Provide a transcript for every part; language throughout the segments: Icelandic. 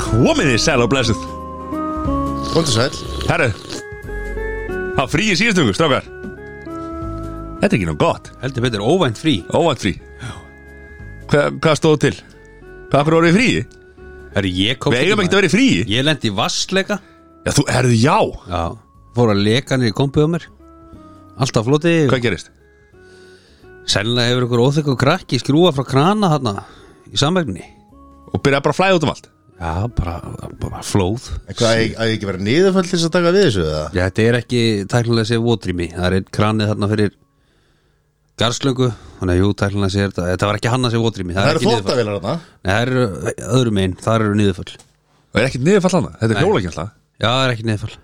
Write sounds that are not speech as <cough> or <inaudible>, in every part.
komiði sæl og blessuð Komdu sæl Herru Það fríi síðustungu, strákar Þetta er ekki nú gott Heldur betur óvænt frí Óvænt frí Hva, Hvað stóð til? Hvað fyrir orðið fríi? Herri, ég kom Við eigum ekkert maður. að vera í fríi Ég lendi í vassleika Já, þú, herðu, já Já Fór að leka niður í kompuðu mér Alltaf floti Hvað gerist? Sennilega hefur ykkur óþekku krakki skrúa frá krana þarna Í samvegni Og byrjaði bara að flæða út um allt Já, bara, bara flóð Hvað, að að ekki vera niðurfæll til þess að taka við þessu eða? Já, þetta er ekki tæknilega sér vótrými Það er einn kranið þarna fyrir Garslöngu Þannig að jú, tæknilega sér þetta Þetta var ekki hann að sér vótrými Það eru ekki niðurfall. þóttavélar þarna Nei, það eru eh, öðrum einn, þar eru niðurfall Já, Og er ekkert niður fallana Þetta er hjólagjensla það er ekki niðurfall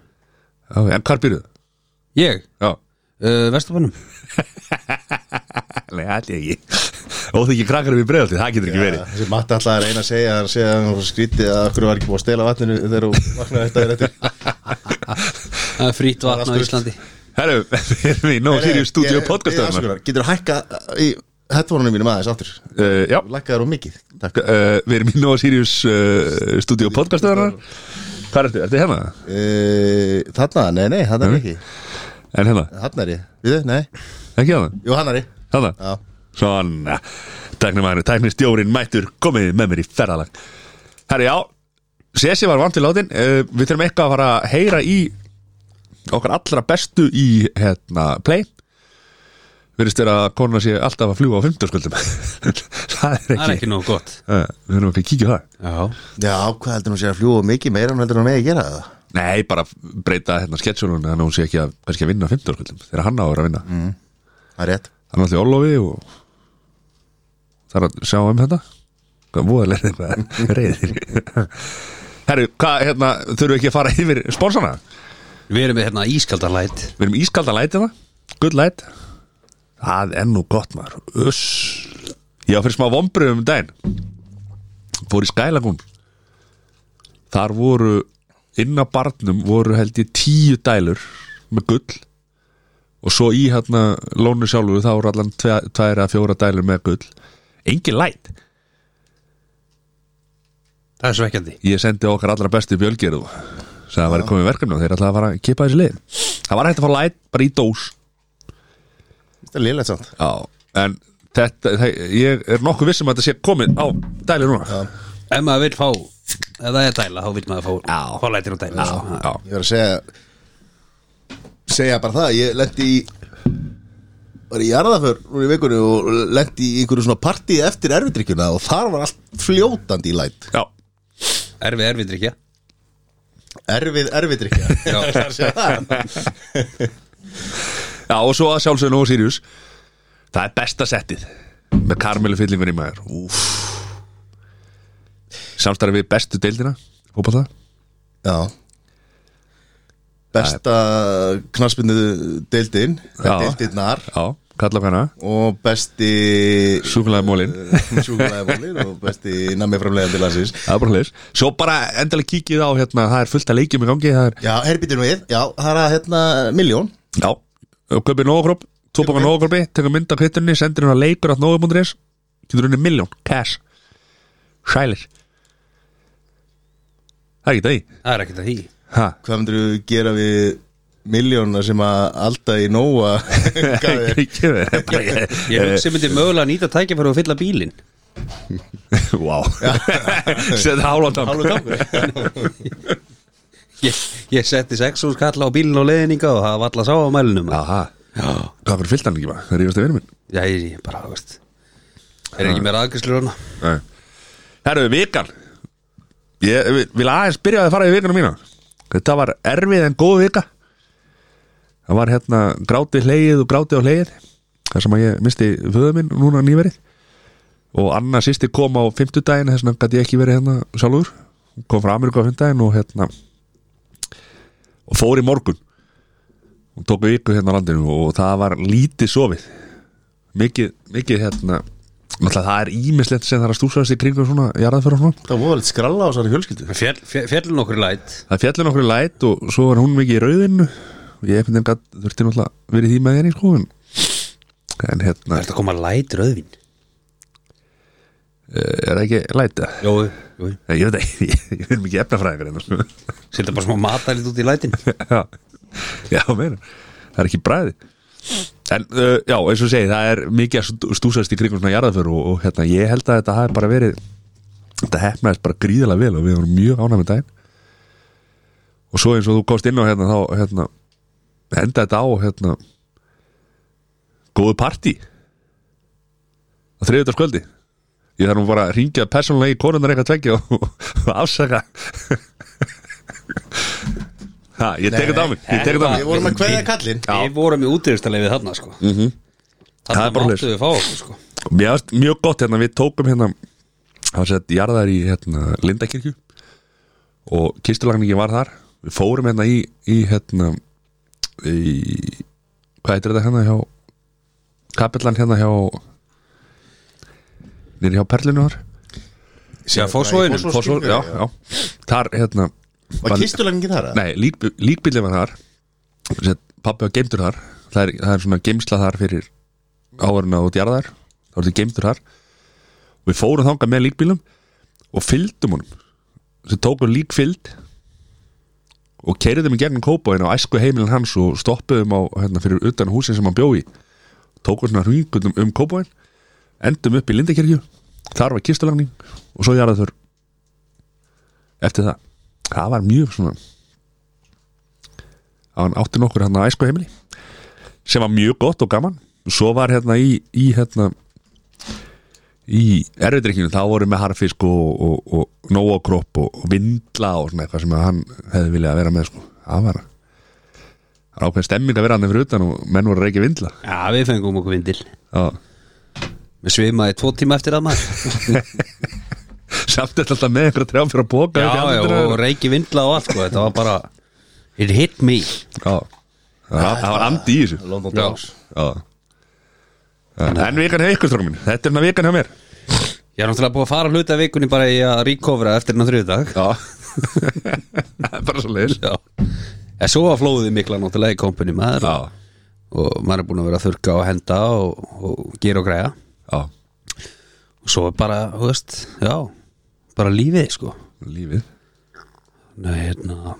okay, En hvar byrjuðu? Ég, Já uh, Vestabannum Nei, allir ekki Óþekki krakkar við bregðaltið, það getur ekki verið Þessi Matti alltaf er að reyna að segja að segja að hún skríti að okkur var ekki búið að stela vatninu þegar hún vaknaði þetta er <laughs> eftir Það er frýtt er vatn á allt Íslandi Herru, <laughs> við erum í Nó Sirius Studio podcastöðum uh, Getur hækka í headphone-unum mínum aðeins aftur Eh, Já, Lækkaður og mikið Takk uh, við erum í Nóa Sirius uh, stúdíu podcastöðanar Hvað ertu? Ertu hérna? Eh, Þarna, nei, nei, þarna er ekki En hérna? Þarna er ég, við þau, nei Ekki hérna? Jú, hann er ég Hérna? Já, Svona Tæknumæður, tæknistjórin mættur komið með mér í ferðalag Herru, já Sessi var vant til látin uh, Við þurfum eitthvað að fara að heyra í okkar allra bestu í hérna, play Verðist þér að konuna sé alltaf að fljúa á 50 skuldum <laughs> Það er Það er ekki ekki nóg gott Uh, Við þurfum ekki að kíkja á það Já, Já, hvað heldur hún sér að fljúa mikið meira en heldur hún megi að gera það Nei, bara breyta hérna sketsjónun þannig að hún sé ekki að, kannski að vinna 15 skuldum þegar hann á að vera að vinna mm. Það er rétt hann er alltaf í Ólofi og þarf að sjá um þetta hvað voðalega er <laughs> þetta reyðir Herru, hvað, hérna, þurfum við ekki að fara yfir spórsana? við erum með hérna ískaldarlæt Við erum ískalda lætina, gull læt Það er nú gott maður Uss Ég var fyrir smá vombrið um daginn Fór í skælagum Þar voru inn á barnum voru held ég tíu dælur með gull og svo í hérna lónu sjálfu þá voru allan tve- tvær að fjóra dælur með gull engin læt Það er svekkjandi ég sendi okkar allra bestu bjölgeru sem það væri komið verkefni og þeir ætlaði að fara að kipa þessi lið það var hægt að fá læt bara í dós Þetta er liðlega samt Já, en þetta, það, ég er nokkuð vissum að þetta sé komið á dæli núna Já, Ef maður vil fá, ef það er dæla þá vil maður fá, Já. fá lætir á dæla Já, já, Ég var að segja segja bara það, ég lendi í var í jarðaför núna í vikunni og lendi í einhverju svona partí eftir erfidrykkjuna og þar var allt fljótandi í læt já. Erfi, erfi drikja Erfið erfidrykkja Já. <laughs> Það er að segja það. já og svo að sjálfsögðu nógu Sirius Það er besta settið með karmelu fyllingur í maður Úf Samstarfi við bestu deildina Hópa það Já Besta knarsbyndu deildin Já. deildirnar Já, kalla hana og besti Súkulega mólin Eh, sjúkulæðabólir og besti nammi framlegandi landsins <laughs> Það er bara hlis Svo bara endalega kíkið á hérna Það er fullt að leikjum í gangi Það er, Já, herbítið nú við, já, það er að hérna miljón já, köpið nógakróp Tvo bóka nógakrópi, tekur mynd á kvittunni Sendir hún að leikur að nógakróp.is Getur henni miljón, cash Sælir Það er ekki það í Það er ekkert að því Ha, hvað myndir þú gera við miljóna sem að alltaf í <laughs> nóa gaf þér? <laughs> ekki verið Ég hugsi myndi mögulega nýta tækja fyrir að fylla bílinn Vá <laughs> Sett hálfa tam Hálfur gangur. Ég, ég setti sex úr skalla á bílinn og leðninga og það var alltaf sá á mælunum Aha Já, Hvað fyrir fyllt hann ekki bara? Það er yfirstu vinur minn já ég, ég bara, þú veist Er ekki meira aðgjörslu hana Nei. Herru, vikan Ég vi- vil aðeins byrja að fara í vikuna mína Þetta var erfið en góð vika Það var hérna grátið hleið og grátið á hleið Það sem að ég misti föðu minn núna nýverið Og Anna sýsti kom á fimmtudaginn Þess vegna gæti ég ekki verið hérna sjálfur Hún Kom frá Ameríku á fimmtudaginn og hérna Og fór í morgun Og tók viku hérna á landinu Og það var lítið sofið Mikið, mikið hérna Náttúrulega það er ímislegt sem það er að stúsast í kringum svona jarðaför og svona Það voru alveg skralla á þessari fjölskyldu Fjall, fjall, Fjallin okkur læt það fjallin okkur í læt og svo var hún mikið í rauðinu og ég finnir að þurfti náttúrulega verið í því með henni sko en, en hérna Það er að koma læt rauðvin eh, er það ekki læta Jó, jú, ég veit ekki, <laughs> ég, ég veit ekki efnafræðingar hérna, sko. <laughs> setja bara smá matalit út í lætin já, já meina það er ekki bræði en uh, já, eins og ég segi, það er mikið að stú- stúsast í kringum svona jarðaför og, og hérna, ég held að þetta hafi bara verið þetta hefnaðist bara gríðilega vel og við vorum mjög ánægð með daginn og svo eins og þú komst inn á hérna þá hérna, enda þetta á hérna góðu partí á þriðutaskvöldi ég þarf nú bara að ringja persónulega í konundar eitthvað tveggja og, og afsaka <laughs> ha, ég tek þetta á mig ég tek þetta á mig Við vorum að kveðja kallinn Við vorum í útíðustalegi þarna sko mm -hmm. Mhm. Það er Þarna bara máttu svoleiðis. við fá okkur sko Mér varst mjög gott hérna, við tókum hérna það var sett jarðar í hérna, Lindakirkju og kistulagningin var þar við fórum hérna í, í hérna í hvað heitir þetta hérna hjá kapillan hérna hjá nýri hjá Perlinu þar Já, fórsvóinu Fossvog, já, já, þar hérna Var kistulangin þar? eða? Nei, lík, líkbílið var þar Sett, Pappi var geimtur þar það er, það er svona geimsla þar fyrir áveruna út jarðar Það var þetta geimtur þar Við fórum þangað með líkbílum Og fylgdum honum Sem tókum líkfylgd Og keiriðum í gegnum kópaðin á æsku heimilin hans Og stoppuðum á, hérna, fyrir utan húsin sem hann bjó í Tókum svona hringundum um kópaðin Endum upp í Lindakirkju Þar var kistulagning Og svo jarðað þurr Eftir það Það var mjög svona að hann átti nokkur hann að æsku heimili sem var mjög gott og gaman svo var hérna í, í hérna í erfiðrykkinu þá voru með harfisk og, og, og nóakropp og, og vindla og svona eitthvað sem að hann hefði viljað að vera með sko. það var það var ákveðin stemming að vera hann fyrir utan og menn voru að reykja vindla Já, við fengum okkur vindil Já. Við svimaði tvo tíma eftir <laughs> að maður samt þetta alltaf með einhverja trjám fyrir að boka Já, já, og reiki vindla og allt sko Þetta var bara It hit me það var andi í þessu London Já. Dogs Já. en vikan hefur ykkur strókum minn þetta er hérna vikan hjá mér Ég er náttúrulega búið að fara hluta vikunni bara í að recovera eftir hennar þriðdag Já <laughs> Það er bara svo leil Já En svo var flóðið mikla náttúrulega í kompunni maður Já, Og maður er búin að vera að þurka og henda og, og gera og græja já, Og svo er bara, þú veist, já Bara lífið sko lífið Nei, hérna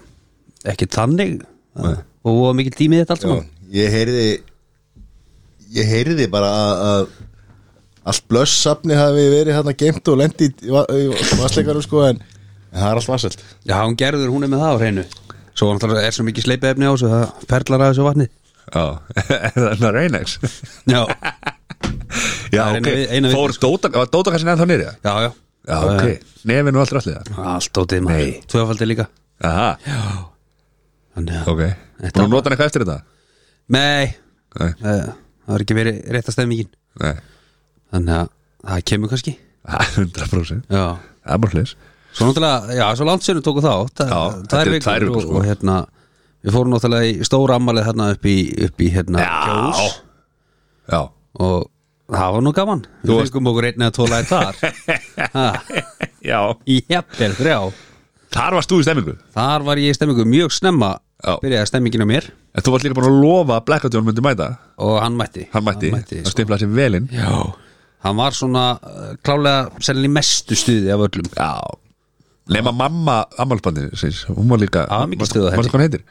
Ekki þannig Og voða mikil tími í þetta allt Já, saman Ég heyrði Ég heyrði bara að- að Allt blössafni hafi verið hérna geimt og lendi í va- í vassleikarum sko en, en það er allt vasselt Já, hún gerður, hún er með það á hreinu Svo náttúrulega er svo mikið sleipaefni á þessu Það perlar að þessu vatni Já, <laughs> er það er reynex Já, Já, Það er ok, eina við- eina við- fór Dóta, var Dóta kannski ennþá nýrið já, já Já, ok, nefinn og allt rættið það Allt ótið maður, Nei. tvöfaldi líka Aha, Þannig að ok Búin að nota hann eitthvað eftir þetta? Nei, Nei, eh, það var ekki verið rétta stemmingin nei, Þannig að það kemur kannski <laughs> Ah, 100% Já Það er bara hlis Svo náttúrulega, já, svo landsinu tóku þá Já, þetta tvær eru vikur tvær vikur, og, sko. og hérna Við fórum náttúrulega í stóra ammalið hérna upp í, upp í hérna Kjós Já, og það var nú gaman Þú Við varst- fengum okkur einn eða tólaði þar <laughs> Ha, já Jafnvel, þrjá Þar varst þú í stemmingu Þar var ég í stemmingu mjög snemma Já. byrjaði stemmingin á mér En þú varst líka bara að lofa að Blackout Jón myndi mæta og hann mætti Hann mætti, hann, hann stimplaði sér velinn Já. hann var svona uh, klálega sennilega í mestu stuði af öllum Já Nefna mamma ammálspandinu síns Hún var líka Já, mikið stuð á Manstu- henni. manstu hvað hann heitir?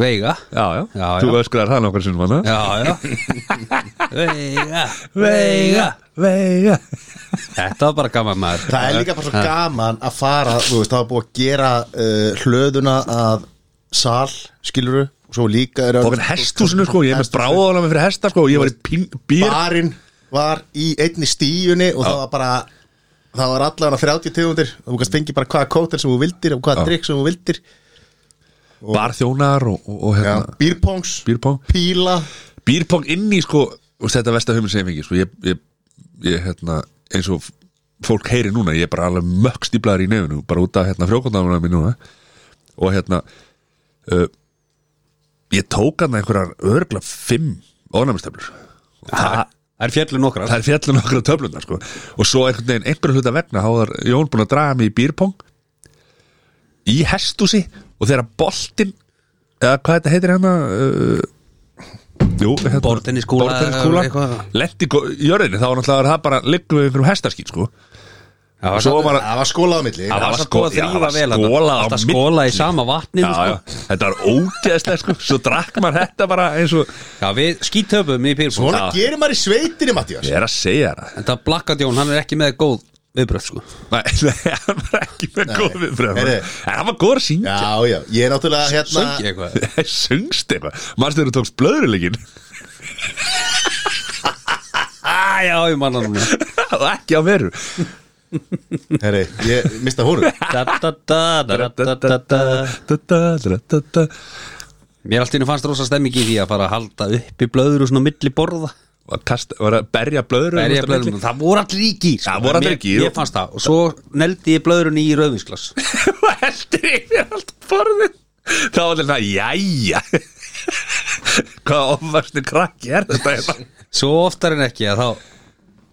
Veiga Já, já, Já, Þú já. öskraðar það nokkar sinnum hana Já, <laughs> já Veiga Veiga Veiga Þetta var bara gaman maður Það er líka bara svo gaman að fara þú veist, það var búið að gera uh, hlöðuna að sal, skiluru og svo líka er Og hann hesthúsinu sko, ég er með bráðalega með fyrir hesta sko Ég var í býr barinn var í einni stíjunni og það var bara það var allan að 30 tegundir og þú kannst fengi bara hvaða kóter sem þú vildir og hvaða drikk sem þú vildir Barþjónar og, og, og Já. hérna býrpongs, Býrpong píla Býrpong inn í sko Og þetta versta hugmynd sem ég fengi sko Ég, ég, ég hérna, eins og f- fólk heyri núna Ég er bara alveg mökk stíplaður í nefnu Bara út af hérna frjókondanuna mín núna Og hérna uh, Ég tók hann einhverjar örgla fimm ónæmistöflur Og það Það er fjallu nokkra það er fjallin okkur á töflundar sko. og svo einhvern veginn einhverju hluta vegna þá var Jón búin að draga mig í býrpong í hestúsi og þegar boltinn eða hvað þetta heitir hérna uh, Jú, hérna, Borðtenniskúla borðtenniskúla. eða eitthvað. Lenti í gó- í jörðinni, þá var náttúrulega það bara Liggum við einhverjum hestaskýt, sko Það var Svo samt- var- Það var skólað á milli Já, það var sko að já, það þrýfa var vel skólað á Alltaf skóla í milli. sama vatninu já, já, sko. þetta var ógeðslega, sko Svo drakk maður þetta bara eins og Já, við skítöpum í Pyrpúl Svona gerir maður í sveitinni, Mattías Ég er að segja það En það Blakkadjón, hann er ekki með góð viðbröð sko. Nei, <laughs> nei, hann var ekki með góð viðbröð Heyrðu. En hann var góð að syngja Já, já, ég er náttúrulega Söngi hérna eitthvað <laughs> Söngst eitthvað Manstu þegar þú tókst blöðruleikin Á, já, ég manna núna <laughs> Það var ekki á veru Herri, ég mista hún <laughs> Da, da, da, da, da, da, da. Da-da-da-da-da. Mér allt í henni fannst rosa stemming í því að fara að halda upp í blöður og svona milli borða Var að kasta- var að berja blöðru Berja blöðrunum. Það voru allir í gýr Það voru allir í gír. Ég fannst það Og svo neldi ég blöðurinn í rauðvinsglas <laughs> og heldur yfir allt borðin þá var þetta jæja <laughs> hvað ofvastu krakki er þetta hérna? Svo oftar en ekki að þá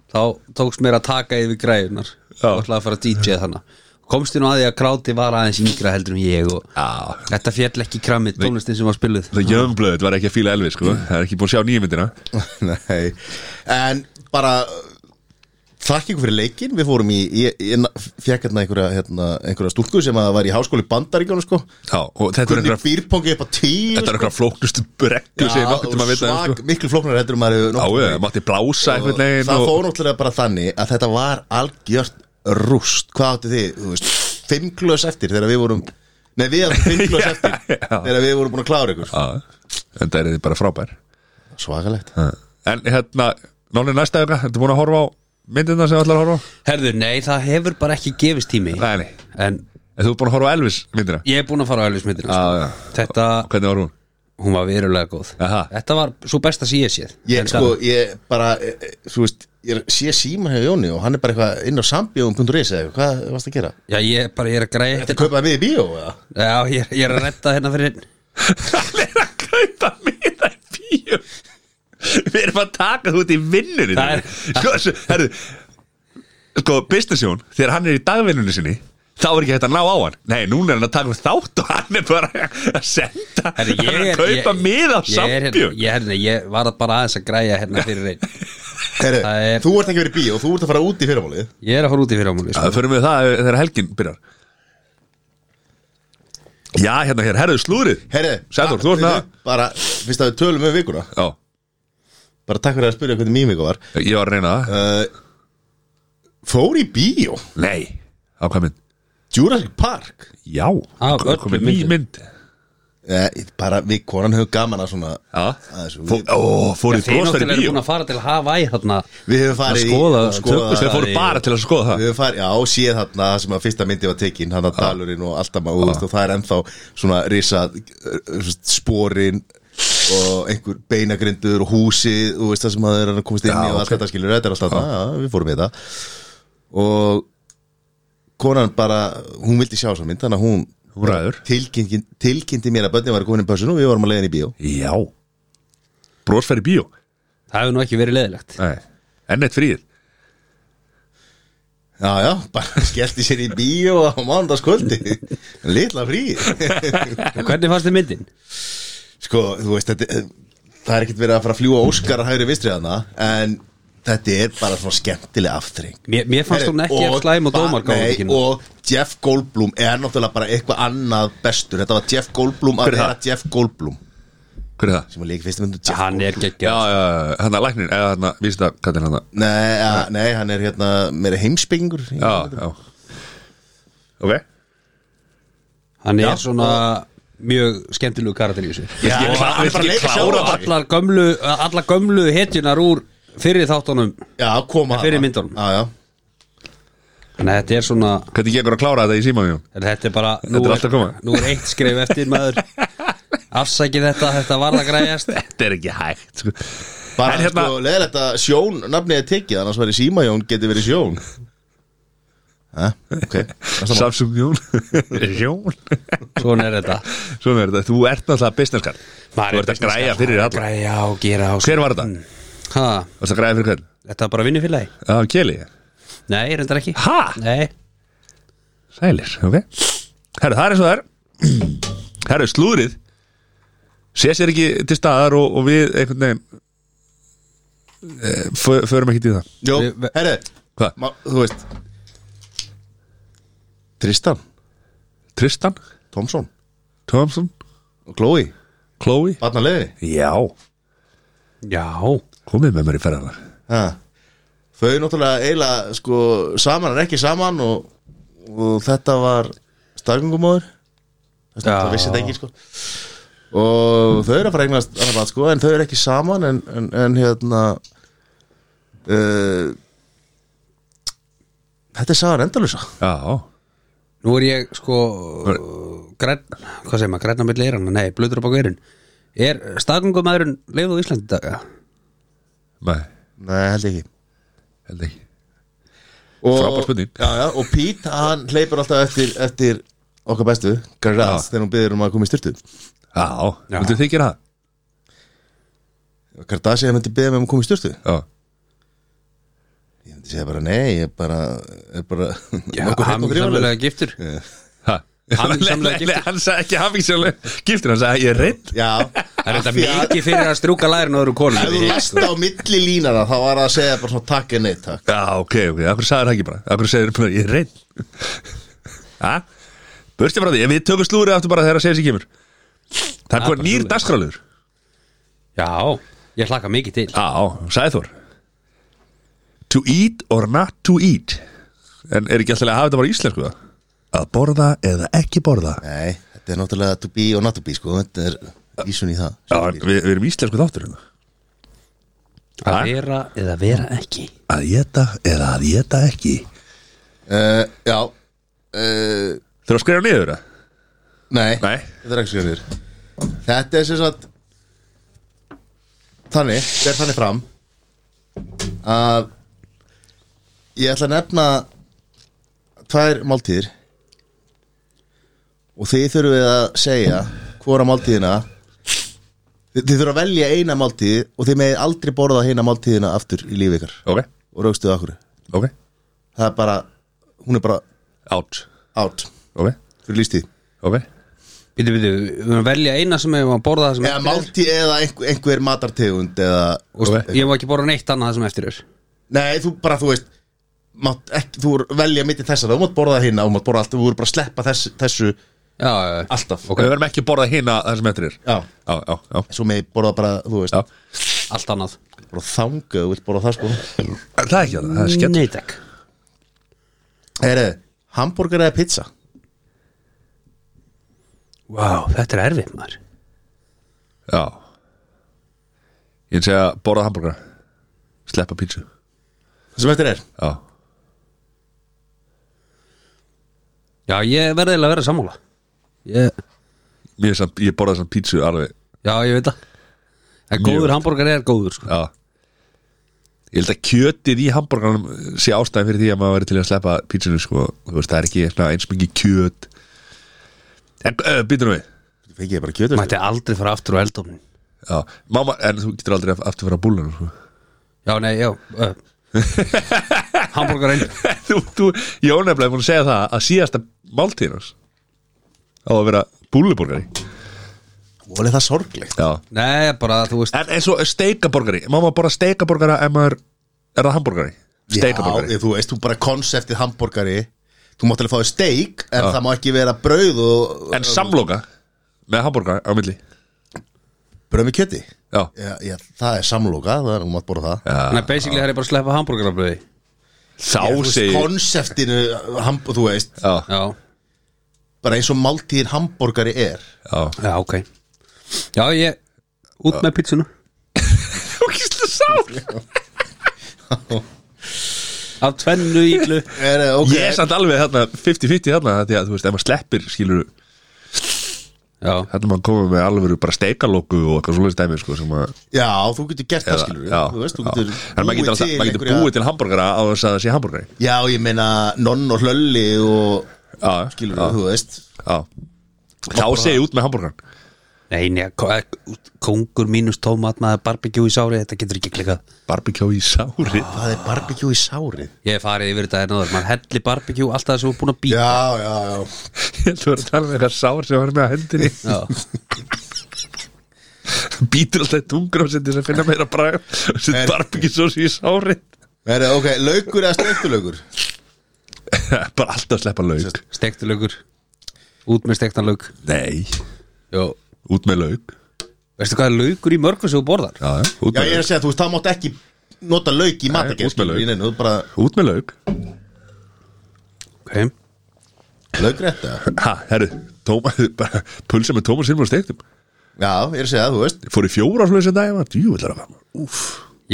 Þá tókst mér að taka yfir græðunar Já. Og ætlaði að fara að DJ þannig Komst ég nú að því að kráti var aðeins yngra heldur en ég og Já. Þetta fjall ekki kramið tónlistin sem var spiluð það jöfnblöðut var ekki að fíla Elvis sko. það er ekki búin að sjá nýjumyndina Nei, en bara Þakk ykkur fyrir leikin, við fórum í, í, í Fjekk hérna einhverja, hérna einhverja stúlku sem að var í háskóli bandaríkjónu sko Já, og þetta er Hvernig einhverja býrpongi upp á tíu þetta er einhverja flóknustu brekku sem ég nokkuð tíma að vita um, svag, sko. miklu flóknar heldur en maður hefur Já, nokkurn ég, mátti blása Og einhvern veginn það og- fór náttúrulega bara þannig að þetta var algjört rúst hvað átti þið, þú veist, fimm glöðs eftir þegar við vorum, nei við áttum fimm <laughs> glöðs Já, eftir já. þegar við vorum búin að klára ykkur Já, en það er þið bara frábær svakalegt en hérna, nálinn næsta auka ertu búin að horfa á myndina sem þú ætlar að horfa á? Herðu, nei, það hefur bara ekki gefist tími Nei, nei, En en þú er búin að horfa á Elvis myndina? ég er búin að fara á Elvismyndina sko. já Þetta, Hvernig <laughs> var hún? hún var verulega góð Aha. Þetta var svo besta sem ég séð ég sko, ég bara, e, e, þú veist ég er- sé síman hjá Jóni og hann er bara eitthvað inn á sambjóðum.is eða eitthvað, hvað varst að gera? Já, ég, bara, ég er að græja hérna. Þetta kaupaði mig í bíó eða? Já, ég, er- ég er að retta hérna fyrir Hann er að kaupa miða í bíó Við erum að taka þú út í vinnunni Það er- Sko, s- herru Sko, businessjón, þegar hann er í dagvinnunni sinni Þá er ekki hægt að ná á hann Nei, núna er hann að taka upp þátt og hann er bara að senda Herri, <laughs> ég Hann er er- að kaupa ég- miða á ég er hérna, sambjón ég, hérna, ég var bara aðeins að græja hérna fyrir einn Heru, Það er- þú ert ekki verið í bíó, þú ert að fara út í fyrramálið Ég er að fara út í fyrir ámúli sko. Það fyrir við það eh, þegar helgin byrjar Já, hérna hér, herðu slúrið Herri, Sæður, þú ert með það bara, fyrst að við tölum um vikuna Já, bara takk fyrir að spyrja hvernig mýmika var ég var að reyna það uh, fór í bíó Nei, á hvað mynd? Jurassic Park Já, Á, það öllum komið ný myndum. mynd eh, bara við konan höfum gaman að svona Já, að þessu, Fó, við, ó, fóru í brostar Þeir í náttúrulega eru bíó búin að fara til Hawaii hérna við höfum að farið skoða í, skoða tökus- Þeir fóru í- bara til að skoða það við höfum farið, já, séð þarna það sem að fyrsta myndi var tekin, hann að dalurinn og allt að maður, og það er ennþá svona risa sporin og einhver beinagrindur og húsið, og veist það sem að það er að komast inn í Já, og allt þetta skilur, þetta er alltaf þarna, já, við fórum í þetta og konan bara, hún vildi sjá svo mynd, þannig að hún Hún ræður tilkynnti, tilkynnti mér að bönni var komin í pössun og við vorum að leiðin í bíó Já Brostar í bíó Það hefur nú ekki verið <laughs> leðilegt Nei Enn eitt fríð Já, já, bara <laughs> skellti sér í bíó á mánudagskvöldi Litla frí Hvernig fannst þið myndin? Sko, þú veist, þetta, eh, það er ekkert verið að fara að fljúa Óskar að hægri vistri þarna En þetta er bara svona skemmtileg aftreng Mér, mér fannst hún ekki að slæm og dómar Nei, gáði og Jeff Goldblum er náttúrulega bara eitthvað annað bestur Þetta var Jeff Goldblum Hver að er vera það? Jeff Goldblum Hver er það? Sem að líka fyrstu myndu Jeff Hann er Goldblum Já, geggjað já, hann að læknir Eða hann að vísita kallinn hann að Nei, ja, nei, hann er hérna meira heimsbyggingur Já, já Ok Hann er svona mjög skemmtilegu karakter í þessu Já, Ég hann er klá- viltu bara að leika klára sjálfan bara? sig. Allar gömlu, allar gömlu hetjunar úr fyrir þáttunum Já, koma Fyrir hana. myndunum. Já, já Þannig að þetta er svona Hvernig gengur að klára þetta í síma mjög? Þetta er bara Þetta er allt að koma. nú er eitt skrif eftir maður Afsækið þetta, þetta var það græjast Þetta er ekki hægt sko. Bara En hérna- sko, leðilegt að sjón, nafnið er tekið, annars verið símajón geti verið <laughs> sjón Hæ, ok Næsta mál. Samsung Jón <laughs> Jón Svona er þetta Svona er þetta Þú ert náttúrulega business card Þú ert að græja Mm. fyrir alla Græja og gera og Hver var þetta? Ha, Þú ert að græja fyrir hvern? þetta var bara vinnufélagi Já, Keli Nei, reyndar ekki Ha? Nei, Sælir, ok Herru, það er eins og það er Herru, slúðrið sé sér ekki til staðar og, og við einhvern veginn eh, fö- förum ekki til það Jó, Við- við- herri Hvað? ma- Þú veist Tristan Tristan, Thompson Thompson, og Chloe Chloe Barnalegi Já, Já komið með mér í ferðarna Ha. Þau náttúrulega eiginlega sko, saman en ekki saman og, og þetta var staðgöngumóður það Já. vissi þetta ekki sko. og þau eru að fara að eignast annað barn, sko, en þau eru ekki saman en, en, en hérna uh, þetta er sagan endalusa Já, Nú er ég sko græn, hvað segir maður, grænna milli eyrana nei, blöður á bak eyrun er staðgöngumæðurinn leið á Íslandi í dag eða? nei, nei, held ég ekki held ekki og, Frábær spurning. já, já, og Pete, hann hleypur alltaf eftir, eftir okkar bestu, Garras, þegar hún byrður um að koma í styrtu Já, Já. myndu þið gera það? Gardas ég myndi byrða með um að koma í styrtu Já, Ég myndi segja bara nei, ég bara, ég bara <laughs> Já, nokkuð hreinn hann og drífalegur. samlega giftur ha Hamingjusamlega Nei, giftur. nei, Hann sagði ekki hafingsamlega giftur Hann sagði ég er reynd Já, Það er þetta Af því að mikið sko. fyrir að strjúka lærin og öðru konu Ef þú last á milli línana þá var það að segja bara svona takk en neitt takk Já, ok, ok, akkur sagði það ekki bara Akkur segir bara ég er reynd <laughs> Ha? Bursti bara því, ef við tökum slúrið aftur bara þegar að segja sér kemur Það er Það er hvað bara nýr svoleiðis. dagskráluður Já, ég hlakka mikið til Já, sagði Þór To eat or not to eat En er ekki alltaf að hafa þetta bara í íslensku það? Að borða eða ekki borða Nei, þetta er náttúrulega to be og not to be sko Þetta er ísun í það Já, en við, við erum íslensku þáttur hérna Að vera eða vera ekki Að geta eða að geta ekki uh, Já uh, Þurfa að skrifa niður það? Nei, Nei. þetta er ekki skjönir Þetta er sem sagt Þannig, þetta er þannig fram að ég ætla að nefna tvær máltíðir og þið þurfum við að segja hvora máltíðina þið, þið þurfum að velja eina máltíð og þið megið aldrei borða hina máltíðina aftur í lífi ykkar Ok, og raukstuðu okkur ok, það er bara, hún er bara out out Ok, fyrir lístíð ok Býtu, býtu, við erum að velja eina sem hefum að borða það sem eða eftir er máltíð eða einhver, einhver matartegund eða Og Ok. Ég má ekki borða neitt annað það sem eftir er nei, þú bara, þú veist mátt ekki, þú velja mitt í þessar þú mátt borða hérna, þú mátt borða allt þú voru bara að sleppa þess, þessu Já, já, já. alltaf Við verðum ekki að borða hina það sem eftir er já, Já, já, já, svo með borða bara, þú veist já. allt annað bara þangað, þú vilt borða það sko Það er ekki að það, það er skemmt Nei, takk heyrðu, hambúrgar eða pizza Vá, þetta er erfitt maður Mm. Já Ég vil segja borða hambúrgar Sleppa pítsu það sem eftir er, Já, Já, ég verði eiginlega að vera sammála ég... Mér er samt, ég borða samt pítsu alveg Já, ég veit það En Mjög góður gott. hambúrgar er góður sko. Já Ég held að kjötið í hambúrgaranum sé ástæðan fyrir því að maður verið til að sleppa pítsunum sko, þú veist, það er ekki svona eins mikið kjöt En uh, býtum við fekk ég bara kjötu Mætti aldrei fara aftur á eldofnin Já, máma, en þú getur aldrei aftur að fara að búlunum sko. Já, nei, já uh. Hambúrgarinn <laughs> þú, þú, Jón er bara búin að segja það að síðasta máltíðin hans á að vera búluborgari volið það sorglegt Já Nei, bara þú veist En eins og steikaborgari, má maður bara steikaborgara ef maður, er það hambúrgari? Steikaborgari Já, þú veist, þú bara konseptið hambúrgari þú mátt alveg fá þér steik en það má ekki vera brauð og En samloka með hambúrgari á milli brauð með kjöti Já, já, já, það er samloka, það er, þú mátt borða það Ah. Þannig að basically það er ég bara að sleppa hambúrgarabröði þá Já, þú veist, segir Konseptinu, ham- þú veist Já, Já, Bara eins og máltíðin hambúrgari er já <laughs> já, ok Já, ég, út með pítsuna Þú kýrstu sár Af tvennu íglu Er það ok? Ég er samt alveg þarna 50-50 þarna Því að þú veist, ef maður sleppir skilur Já, Þarna maður komið með alveg bara steikalóku Og eitthvað svoleiðis dæmi sko, sem að, Já, þú getur gert það skilur já, Þú veist, þú já. getur En maður getur, alltaf, maður getur búið til hambúrgara Á þess að það sé hambúrgari Já, ég meina nonn og hlölli og Já, skilur já, þú veist já. Þá segi ég út með hambúrgaran nei, nei, ko- eh, kóngur mínus tómat maður barbekjú í sári, þetta getur ekki klikað Barbecue í sári <laughs> Hvað er barbekjú í sárið? Ég hef farið yfir þetta hérna áður, maður helli barbekjú alltaf þess að við búin að býta Já, já, já <laughs> <laughs> Þú verður að tala um eitthvað sár sem var með að hendinni Já. Býtur alltaf í tungur og setur þess að finna meira bræð Setur En- barbekisós í sárið Herri, ok, laukur eða steikturlaukur <laughs> Bara alltaf að sleppa lauk Stektu laukur Út með stektan lauk Nei, Jó út með lauk Veistu hvað er laukur í mörgum sem þú borðar? Já, já, út Já, með ég er að lauk segja, þú veist, það mátt ekki nota lauk í matagerð út með lauk. skilur, í neinu, þú bara Út með lauk Ok laukrétta Ha, herru, tóma, <laughs> bara pulsa með Tómas Silmar steiktum Já, ég er að segja, þú veist Ég Fór í fjóra flöðu sem dag Ég var djúvillar að fama Úf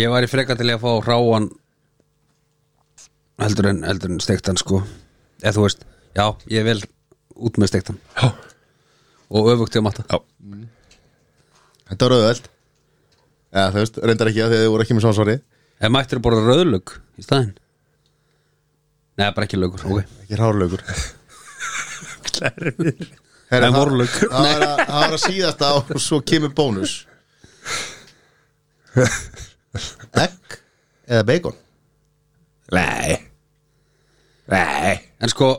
Ég var í frekar til í að fá ráan heldur en, heldur en steiktan sko eða þú veist, já, ég er vel út með steiktan Já, og öfugt ég að matta já Þetta var auðvöld Já, þú veist, reyndar ekki að þið voru ekki með svona svari Ef mættir að borða rauðlaug í staðinn Nei, bara ekki laugur, ok Ekki hárlaukur Klærið Herra, En það- vorlauk. Það var að- það var að síðasta og svo kemur bónus Egg eða bacon Nei Nei En sko,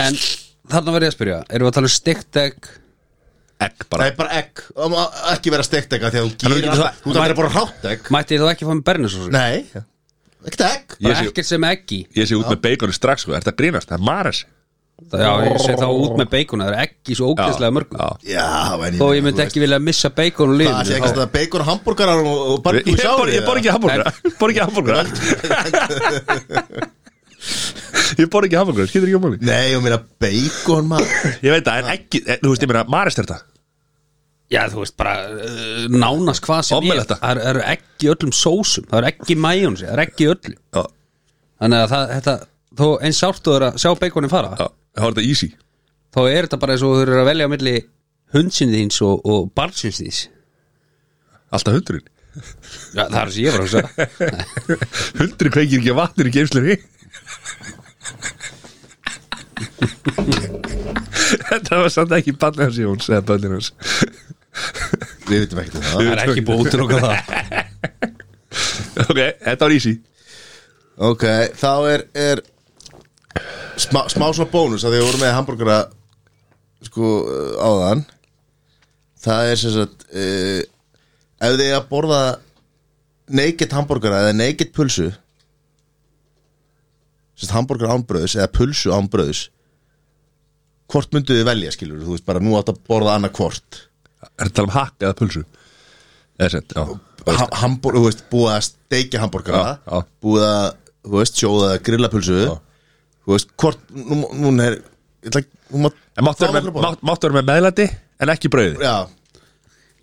en þarna verð ég að spyrja Erum við að tala um steikteg Egg Það bara er bara egg, það má ekki vera steikt egg af Því að þú Það er gerir ekki alltaf, það- þú þarf að vera bara rátt egg Mætti ég þá ekki að fá með bernisósu? Nei, ekkert egg Ég Bara sé- ekkert sem ekki Ég sé út með beikonið strax sko Er þetta grínast? Það er maris Já, ég sé þá út með beikona Það er ekki svo ógeðslega mörgum Já Já, en Þó ég myndi ekki vilja missa beikon og Það er liðinu ekki að bacon og hambúrgarar og og Ég, barbecue ég, bor, ég bor ekki hambúrgara Ég bor ekki <laughs> hambúrgara Ég bor ekki hambúrgara, skilur ekki um hambúrgara Nei, ég meina bacon maður Ég veit það, en ekki, en, þú veist, ég meina, marist þetta Já, þú veist, bara uh, nánast hvað sem Ofmel er þetta. Það eru ekki í öllum sósum Það eru ekki mæjónsi, það eru ekki í öllu Já, Þannig að það, þetta, þó eins sárt þú er að sjá beikonin fara já, þá er þetta easy Þá er þetta bara eins og þú eru að velja á milli hundsin þíns og, og barnsins þíns Alltaf <laughs> hundurinn Já, það er sem ég var að hugsa Hundurinn kveikir ekki vatnir í geimslunni Þetta var samt ekki bannið hans Jóns eða bannið hans Við vitum ekkert um það <laughs> Það er ekki búið til okkur það Ok, þetta var easy Ok, þá er, er smá, smá svona bónus að því að við vorum með hambúrgara sko uh, áðan það er sem sagt uh, ef þið eiga að borða naked hambúrgara eða naked pulsu sem sagt hambúrgara ánbröðs eða pulsu ánbröðs hvort myndu þið velja skilur þú veist bara nú átt að borða annað hvort Er þetta tala um hakk eða pulsu? Eða sett, já Ha- hambúr, þú veist, búið að steikja hambúrgara Já, já. búið að, þú veist, sjóða eða grilla pulsu þú veist, hvort, nú, nú er ég ætla ekki- hún má- En máttu vera Þá með, má- mátt, mátt vera með meðlæti en ekki brauði já,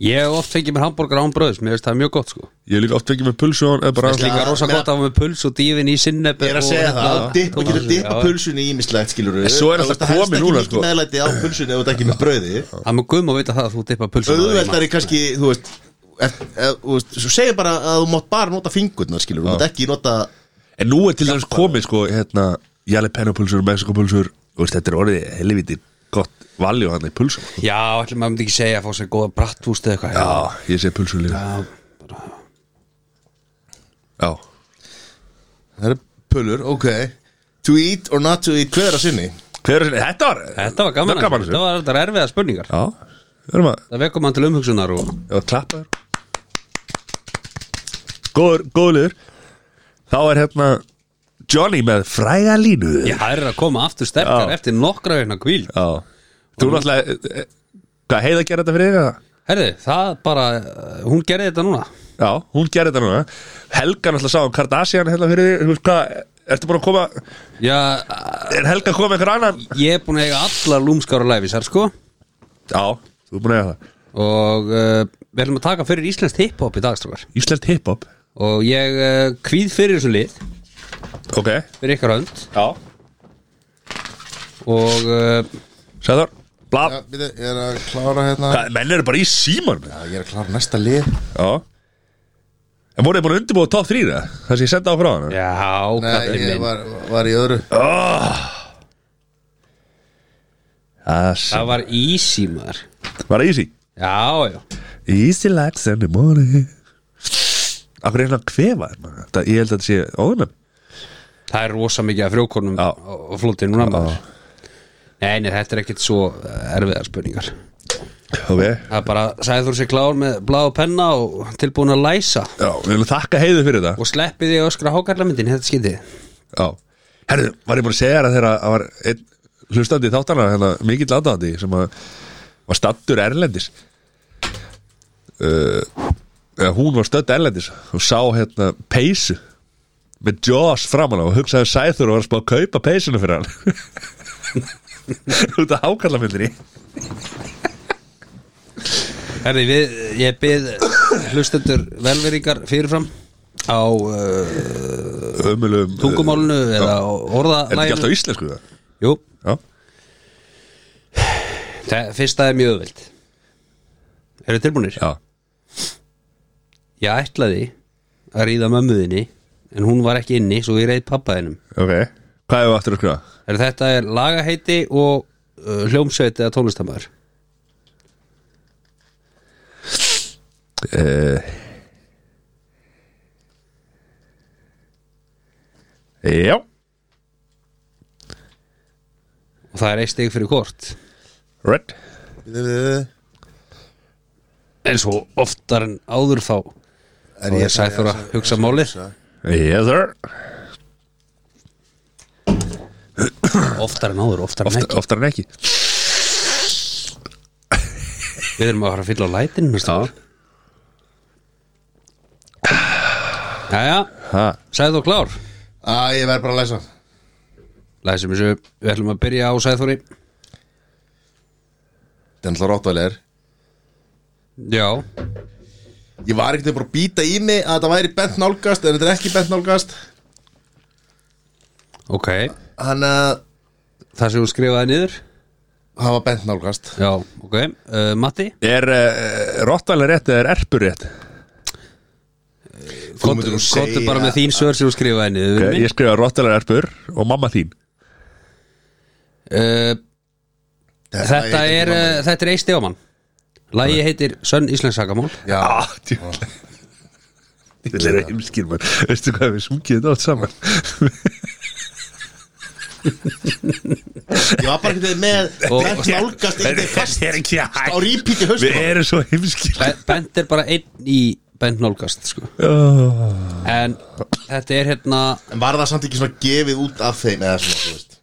Ég hef oft fengið mér hambúrgar án bröðs Mér finnst það mjög gott, sko Ég hef líka oft fengið með pulsu og- eða bara Veist líka- Líka rosa meina- gott að hafa með puls og hérna, dífin í sinneb ég er að segja það dippa, getur dippa pulsunni í ímislegt, skilur En svo er alltaf komið núna, sko sko. meðlæti á pulsunni ef þú ert ekki með brauði Það með guðum að vita það að þú dippa pulsun auðveldari kannski, þú veist ef- ef- þú veist, svo segir bara að þú mátt bara nota fingurna, skilur, þú mátt ekki nota En nú er til dæmis komið sko hérna Jalapeno-pulsur, Mexiko-pulsur Þú veist, Þetta er orðið helviti gott valjú hann í pulsum Já, ætlum maður myndi ekki segja að fá sér góða brattúst eða eitthvað Já, ég sé pulsur líka Já, Já, það er pulur, ok to eat or not to eat, hver að sinni hver er sinni? Þetta var Þetta Þetta var gaman, var gaman þetta var þetta erfiða spurningar Já, við erum að, Það vekum hann til umhugsunar og ég var að klappa þér Góður, góður liður Þá er hérna Johnny með fræga línu Já, það er að koma aftur sterkar Já. eftir nokkra veikna kvíl Já. Þú náttúrulega eh, eh, Hvað heiða gera þetta fyrir þig? eða? Herði, það bara, uh, hún gerði þetta núna Já, hún gera þetta núna Helga náttúrulega sá um Kardashian hérna fyrir þig Þú veist hvað, ertu búin að koma Já, uh, Er Helga komið einhver annan? ég er búin að eiga allar lúmskar og læfisar sko Já, þú er búin að eiga það og uh, við ætlum að taka fyrir íslenskt hiphop í dagstrókar Íslenskt hiphop og ég uh, kvíð fyrir þessu lið Ok, fyrir ykkar hönd já og uh, Sæður, blá Já, bíddu, ég er að klára hérna Hvað, Menn eru bara í síman Já, ég er að klára næsta lið Já En voruð þið búin að undirbúið top 3 það? Það sem ég senda á frá hana já, Nei, kallinn ég minn var, var í öðru oh. Það sem- það var easy maður var easy Já, já, Easy like Sunday morning Akkur er hérna að kvefa þér, maður? Það- Ég held að þetta sé óðunum það er rosa mikið af frjókonum Já. og flótið núna maður Nei, nei, þetta er ekkit svo erfiðar eh, spurningar ok Það er bara sagði þú sér klár með blá penna og tilbúin að læsa Já, við viljum þakka heiðu fyrir þetta og sleppið því að öskra hákarlamyndin þetta skytið Já, herðu, var ég búin að segja þér að þegar að var einn hlustandi í þáttana hérna, mikill aðdáðandi sem að var stattur erlendis uh, eða hún var stödd erlendis og sá hérna peysu með Jaws framan á og hugsaði sæður og var að spá að kaupa peysuna fyrir hann <laughs> út af hákallamildinni Herði, við, ég byrð hlustendur velveringar fyrirfram á uh, ömulum tungumálunu eða á uh, Er þetta ekki orðalæginu alltaf íslensku það? Jú, Já, það, fyrsta er mjög öðvöld Eru tilbúinir? já, Ég ætlaði að ríða mömmuðinni en hún var ekki inni svo ég reið pappaðinum ok Hvað hefur aftur að skrifa? Er þetta er lagaheiti og uh, hljómsveit eða tónlistamæður uh, Já og það er eitt stig fyrir kort Red En En svo oftar en áður þá og ég sæði þú að hugsa málið Yes sir oftar en áður, oftar en Oft, ekki Oftar en ekki Við erum að fara að fylla á lætin næsta ár. Jæja, ha, sæðu þú klár Æ, ég verð bara að læsa Læsum þessu, við ætlum að byrja á sæðþóri Það er alltaf ráttvæðilegar Já, Ég var ekkert bara að býta í mig að þetta væri bent nálgast En þetta er ekki bent nálgast ok Hann að Það sem hún skrifaði niður hann var bent nálgast Já, ok, uh, Matti Er uh, Rottvælar rétt eða er erpur rétt? myndir nú Kottu segja- bara með þín svör sem hún skrifaði niður Okay, ég skrifa Rottvælar erpur og mamma þín uh, Þetta heitir er, mamma. uh, þetta er eisti ámann Lægi heitir Sönn Íslensk Sagamál Já, ah, Þetta er heimskir mann Veistu hvað við sungið þetta allt saman ég var bara ekkert <laughs> með bent nálgast Ekkert með fast er ekki á hægt repeat í Við haustum erum svo heimskir Be- Bent er bara einn í Bent Nálgast sko. En þetta er hérna En var það samt ekki svona gefið út af þeim eða svona, þú veist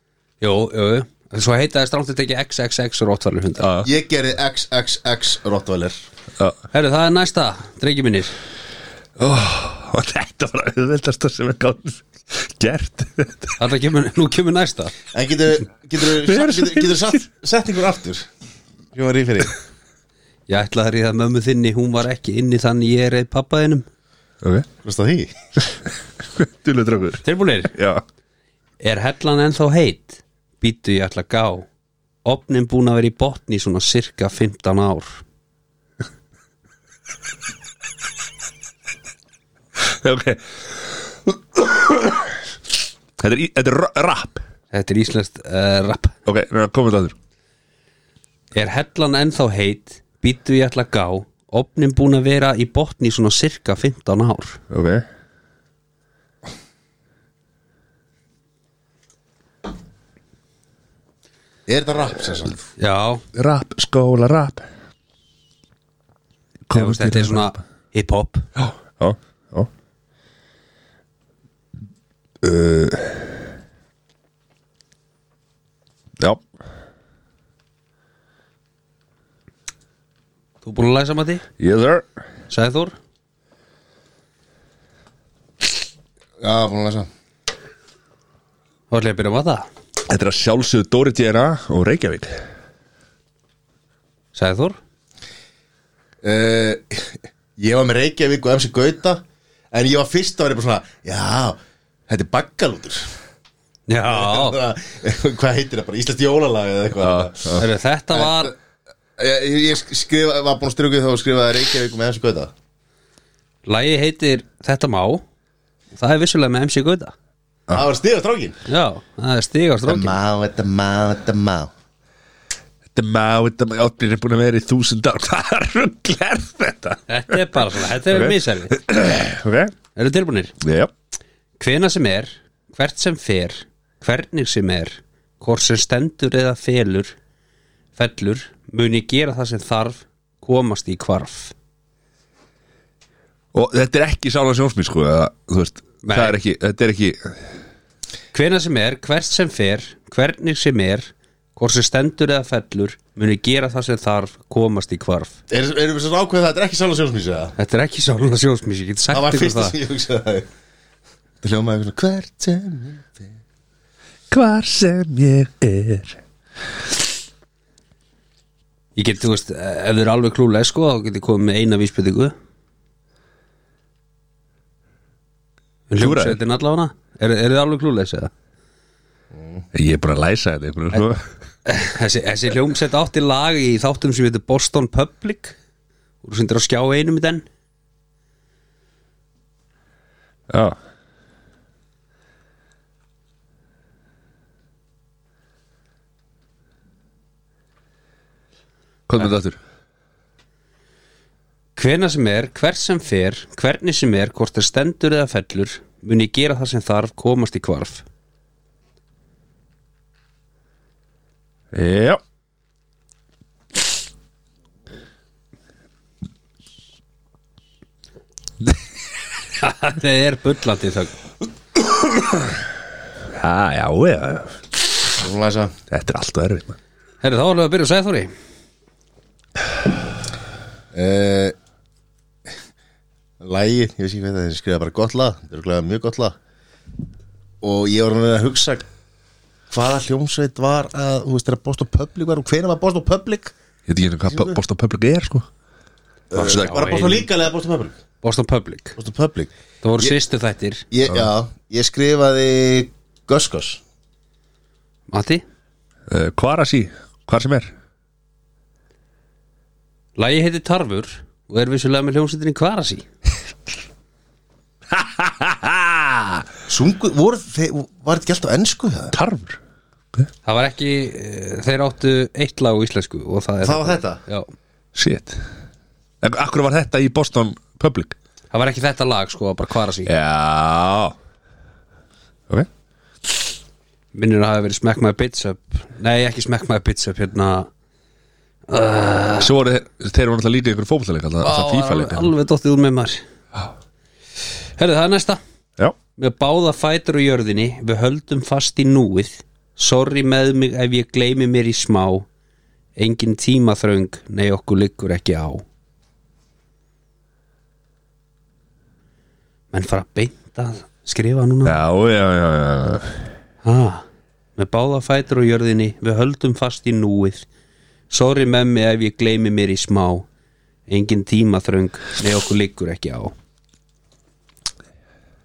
Jú, jú, jú. svo heita það strántið ekki XXX Rottvalur hundar ah, Ég gerði XXX Rottweiler ah. Herru, það er næsta, drengi mínir Og þetta var auðveldast sem er gátt gert Þarna kemur, nú kemur næsta En getur getur, Við erum svo getur, getur sett, sett ykkur aftur Ég var í fyrir Ég ætlaði að ríða mömmu þinni, hún var ekki inni þannig ég er einn pappaðinum <laughs> Ok Veist það því? Dullu draugur Tilbúinir, Já er hellan ennþá heit? Býtu ég ætla að gá Opnin búin að vera í botni í svona cirka 15 ár Ok Þetta er, í- þetta er ra- rap Þetta er íslenskt uh, rap Ok, núna komum við aður Er hellan ennþá heit? Býtu ég ætla að gá Opnin búin að vera í botni í svona cirka 15 ár Ok Er þetta rap, sér sann? Já, Rap, skóla, rap Komum þetta er svona hip-hop Já, já, já uh, Já Þú búin að læsa mati? Yes sir Sæður? Já, búin að lesa Þá ætla ég að byrja að mata Þetta er að sjálfsögðu Dóri Djena og Reykjavík Sæður? uh, <laughs> Ég var með Reykjavík og MC Gauta En ég var fyrst að vera bara svona Já, þetta er baggalútur <laughs> Já Hvað heitir það bara? Íslenskt jólalag eða eitthvað Eh, Já. Heru, Þetta var Ég, ég skrifa, var búin að styrja þá og skrifaði Reykjavík með MC Gauta Lægi heitir Þetta má Það er vissulega með MC Gauta Það var stíða strákin Já, það er stigast strókin má, þetta má, þetta má Þetta er maður, þetta er maður Þetta er búin að vera í þúsund ár <laughs> Hvað rugl er þetta? Þetta er bara svona, þetta Ok. er okay. misæli Ok Eru tilbúinir? Já Hvena sem er, hvert sem fer Hvernig sem er Hvort sem stendur eða felur Fellur, mun ég gera það sem þarf komast í kvarf og þetta er ekki sála sjónsmið sko eða, þú veist, Nei. það er ekki, þetta er ekki hvena sem er, hvert sem fer hvernig sem er hvort sem stendur eða fellur muni gera það sem þarf komast í kvarf Er- Erum við svo ákveðið að þetta er ekki sála sjónsmísi eða? þetta er ekki sálega sjósmís ég get sagt Það var ykkur fyrsta það sem ég hugsaði Það hljómaði eitthvað svona, hvert sem hvar sem ég er ég get, þú veist, eh, ef þið eru alveg klúlega sko, þá get ég komið með eina vísbyrtingu Klúðraði? hljómsveitin allavega er, er þið alveg klúlega eða? ég er bara að læsa þetta einhvern veginn, sko. þessi, þessi hljómsveit átti lag í þáttum sem heitir Boston Public og sem er á skjá einum í den já komum þetta aftur hvena sem er, hvert sem fer hvernig sem er, hvort er stendur eða fellur muni ég gera það sem þarf komast í kvarf já það er bullandi þögn já, já, já Svo læsa þetta er alltaf erfitt man. herri þá erum við að byrja að segja þóri Eh, Lagið, ég veist ekki hvað það er, ég skrifaði bara gott lag Það er glæða mjög gott lag Og ég var hann að hugsa Hvaða hljómsveit var að, þú veist, þegar Boston Public var Og hvenær var Boston Public? ég veit ekki einu hvað Boston Public er sko Var það Boston Legal eða Boston Public? Boston Public, Eh, Boston Public það voru sýstu þættir Ég, já, ég skrifaði Gus Gus Matti, uh, hvar að sí, hvar sem er lagi heitir Tarfur og er vissulega með hljómsveitinni Kvarasi Sungu, voru, þeir, var þetta gælt á ennsku það? tarfur Það var ekki, eh, þeir áttu eitt lag á íslensku og það er Það var þetta? Já, shit en akkur var þetta í Boston Public það var ekki þetta lag sko, bara Kvarasi já ok Minnir að hafa verið Smack My Bitch Up Nei, ekki Smack My Bitch Up hérna svo voru þeir, þeir voru alltaf lítið ykkur fótbollaleik alltaf, alltaf FIFA alveg, leik alveg dottið úr með maður Herðu, hérna. það er næsta já Með báða fætur á jörðinni Við höldum fast í núið Sorry með mig ef ég gleymi mér í smá Engin tímaþröng Nei, okkur liggur ekki á Menn fara beint að skrifa núna já já já, já. ah, Með báða fætur á jörðinni Við höldum fast í núið Sorry með mig ef ég gleymi mér í smá Engin tímaþröng Nei, okkur liggur ekki á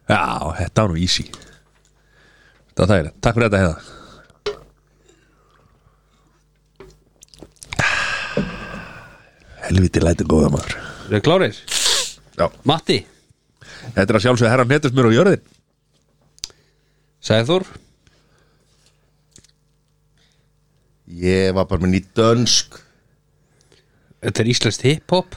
já þetta var nú easy þetta var þægilegt takk fyrir þetta heiða helviti læti góða maður Eru þið klárir? já Matti, þetta er að sjálfsögða herra hnetusmur á jörðin sagði Þór Ég var bara með nýtt dönsk Þetta er íslenskt hiphop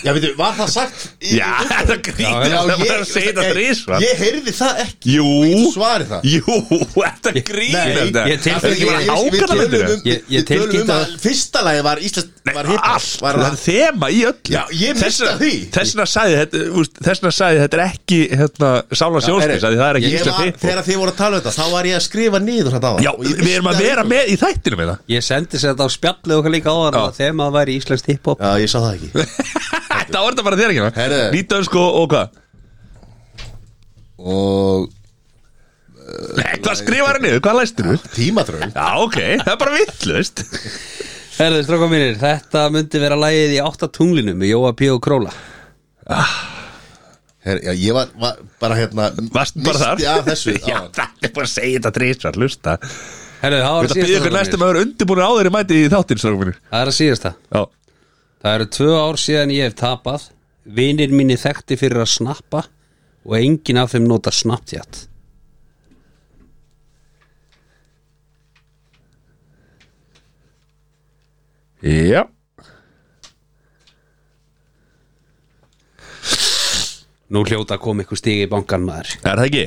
Já, veitum, var það sagt? Í, já þetta grínir já, það ég, var að segja þetta þrísvar Ég heyrði það ekki jú Svari það jú <laughs> þetta grínir Nei, þetta ég Þetta tilkynni- er ekki bara Ég- ég- við hákarlamyndir, eða? tölum um- Ég- ég Við tölum um tilkynnti að að- fyrsta lagi var Íslands var hiphop, allt, var það er þema í öllu Já, ég missti Þess vegna- af því. Þess vegna sagði þetta, úst, þess vegna sagði þetta er ekki hérna, sála sjónsmís, það er ekki Ég íslensk var- hiphop Þegar þið voru að tala um þetta, þá var ég að skrifa nýður þetta á Já, við erum að vera með í hérna. þættinu <laughs> með það Ég sendi sér þetta á spjallið okkar líka á hann að þeim að væri íslenskt hiphop Já, ég sá það ekki <laughs> Þá er þetta bara þér ekki hérna. Herðu. Nýtaðu sko og hvað Og Nei, hvað skrifar hann niður, hvað læstir þú? tímatröð Já, ok, það er bara vittlust Herðu, stráka mínir, þetta myndi vera lægið í átta tunglinu með Jóa P. og Króla Her, já, ég var, var bara hérna Varst bara þar Misti af þessu <laughs> Já, áðan. það er bara að segja þetta trísvar, hlusta Herðu, Við það var ætlum að byggja að síðasta ykkur strákar næstum mínir. að vera undirbúin á þeirri mæti í þáttinn, strákum mínir Það er að síðasta Já, Það eru tvö ár síðan ég hef tapað Vinir mínir þekkti fyrir að snappa og enginn af þeim nota snapptjátt já Nú hljóta að koma ykkur stígi í bankan maður Er það ekki?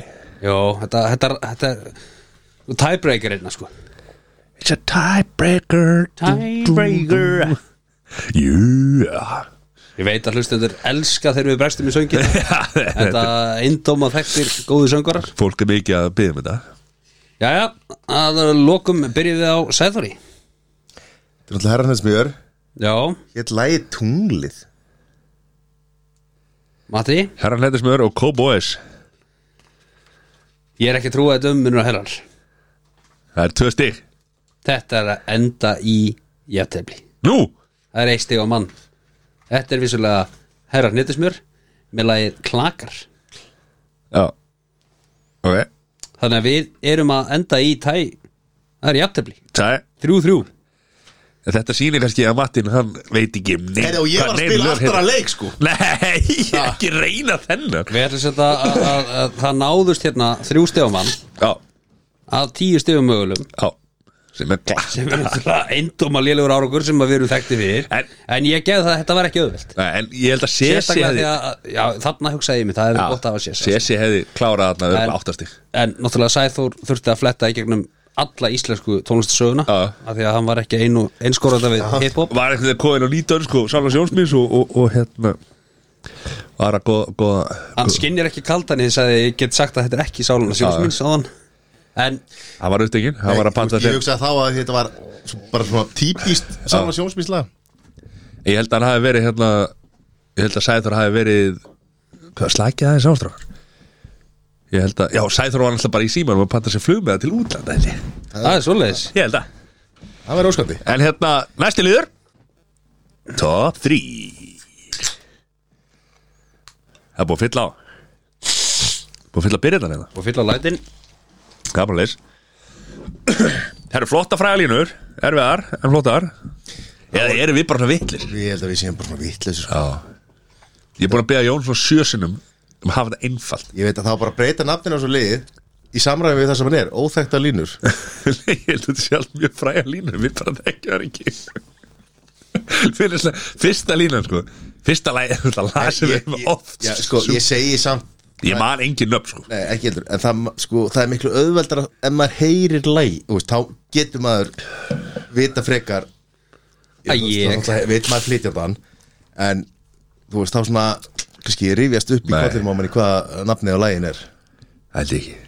Jó, þetta, þetta, þetta Tiebreaker einna sko It's a tiebreaker Tiebreaker Jú, <laughs> já Ég veit að hlustendur elska þegar við brestum í söngin <laughs> Þetta eindóma þekktir góðu söngarar Fólk er mikið að byggja um þetta Jæja, að lokum byrjum við á Sæþóri er alltaf herran þess mjög Já, Hétt lægi tunglið Matti, Herran Hlættismör og Cowboys ég er ekki að trúa þetta um munur og herrar Það er tvö stig Þetta er að enda í jættefli Nú, Það er eitt stig á mann Þetta er vissulega herrar nýttismjör með lagið klakar já Ok, Þannig að við erum að enda í tæ Það er jættefli, það er þrjú þrjú En Þetta sýnir kannski að Mattin, hann veit ekki um neitt Herra og ég var hvað að nein spila lög aftur að heita. leik sko Nei, <laughs> ekki reyna þennan Við ætlum þetta að, að, að það náðust hérna þrjú stig á mann Já, að tíu stigum mögulum já Sem er klart sem er náttúrulega eindóma lélugur árangur sem að við erum þekkti fyrir En- en, ég geði það að þetta var ekki auðvelt En ég held að Sessi sérstaklega hefði því að, já, þarna hugsaði ég mig það hefði verið gott að hafa sér Sessi hefði klárað þarna En- örugglega áttastig en náttúrulega Sæþór þurfti að fletta í gegnum alla íslensku tónlistasöguna Já. af því að hann var ekki einu einskorðanda við hiphop Var einhvern veginn komin á nýtönn sko Sála Sjónsmins og, og, og hérna Var að góða, góða hann skinnir ekki kaldan í þess að ég get sagt að þetta er ekki sálun og sjónsmins á hann en Það var upptekinn, það var að panta Ég þér hugsaði þá að þetta var svo- bara svona típist Sána sjónsmísla Ég held að hann hafi verið hérna Ég held að Sæþór hafi verið Hvað slækja aðeins ástrákar Ég held að, já Sæþór var alltaf bara í símanum að panta sér flug með það til útlanda held ég. það er svoleiðis ég held að Það verður óskandi En hérna, næsti liður Top 3 Það er búið að fylla á Búið að fylla að byrja þetta hérna og fylla á lætin Það er bara leys Það eru flotta fræðalínur, erfiðar en flottar Eða eru við bara svona vitlir Ég held að við séum bara svona vitleis sko. Já Ég er búin að beða Jón svona sjösunum um að hafa þetta einfalt <laughs> Ég veit að það var bara að breyta nafninu á svo lið Í samræmi við það sem hann er, óþekta línur Ég held að þetta sé allt mjög fræga línur Við bara þekkjum það ekki Fyrir svona, Fyrsta línan sko Fyrsta <laughs> læg, þetta lag sem við hefum oft Já, sko, ég segi samt Ég man engin nöfn sko Nei, ekki heldur, en það, sko, það er miklu auðveldar ef maður heyrir læg þú veist, þá getur maður vita frekar Æ, ég- veit maður flytja þann en þú veist, þá svona kannski rifjast upp í Nei. kollinum á manni hvað nafnið á lægin er Það held ég ekki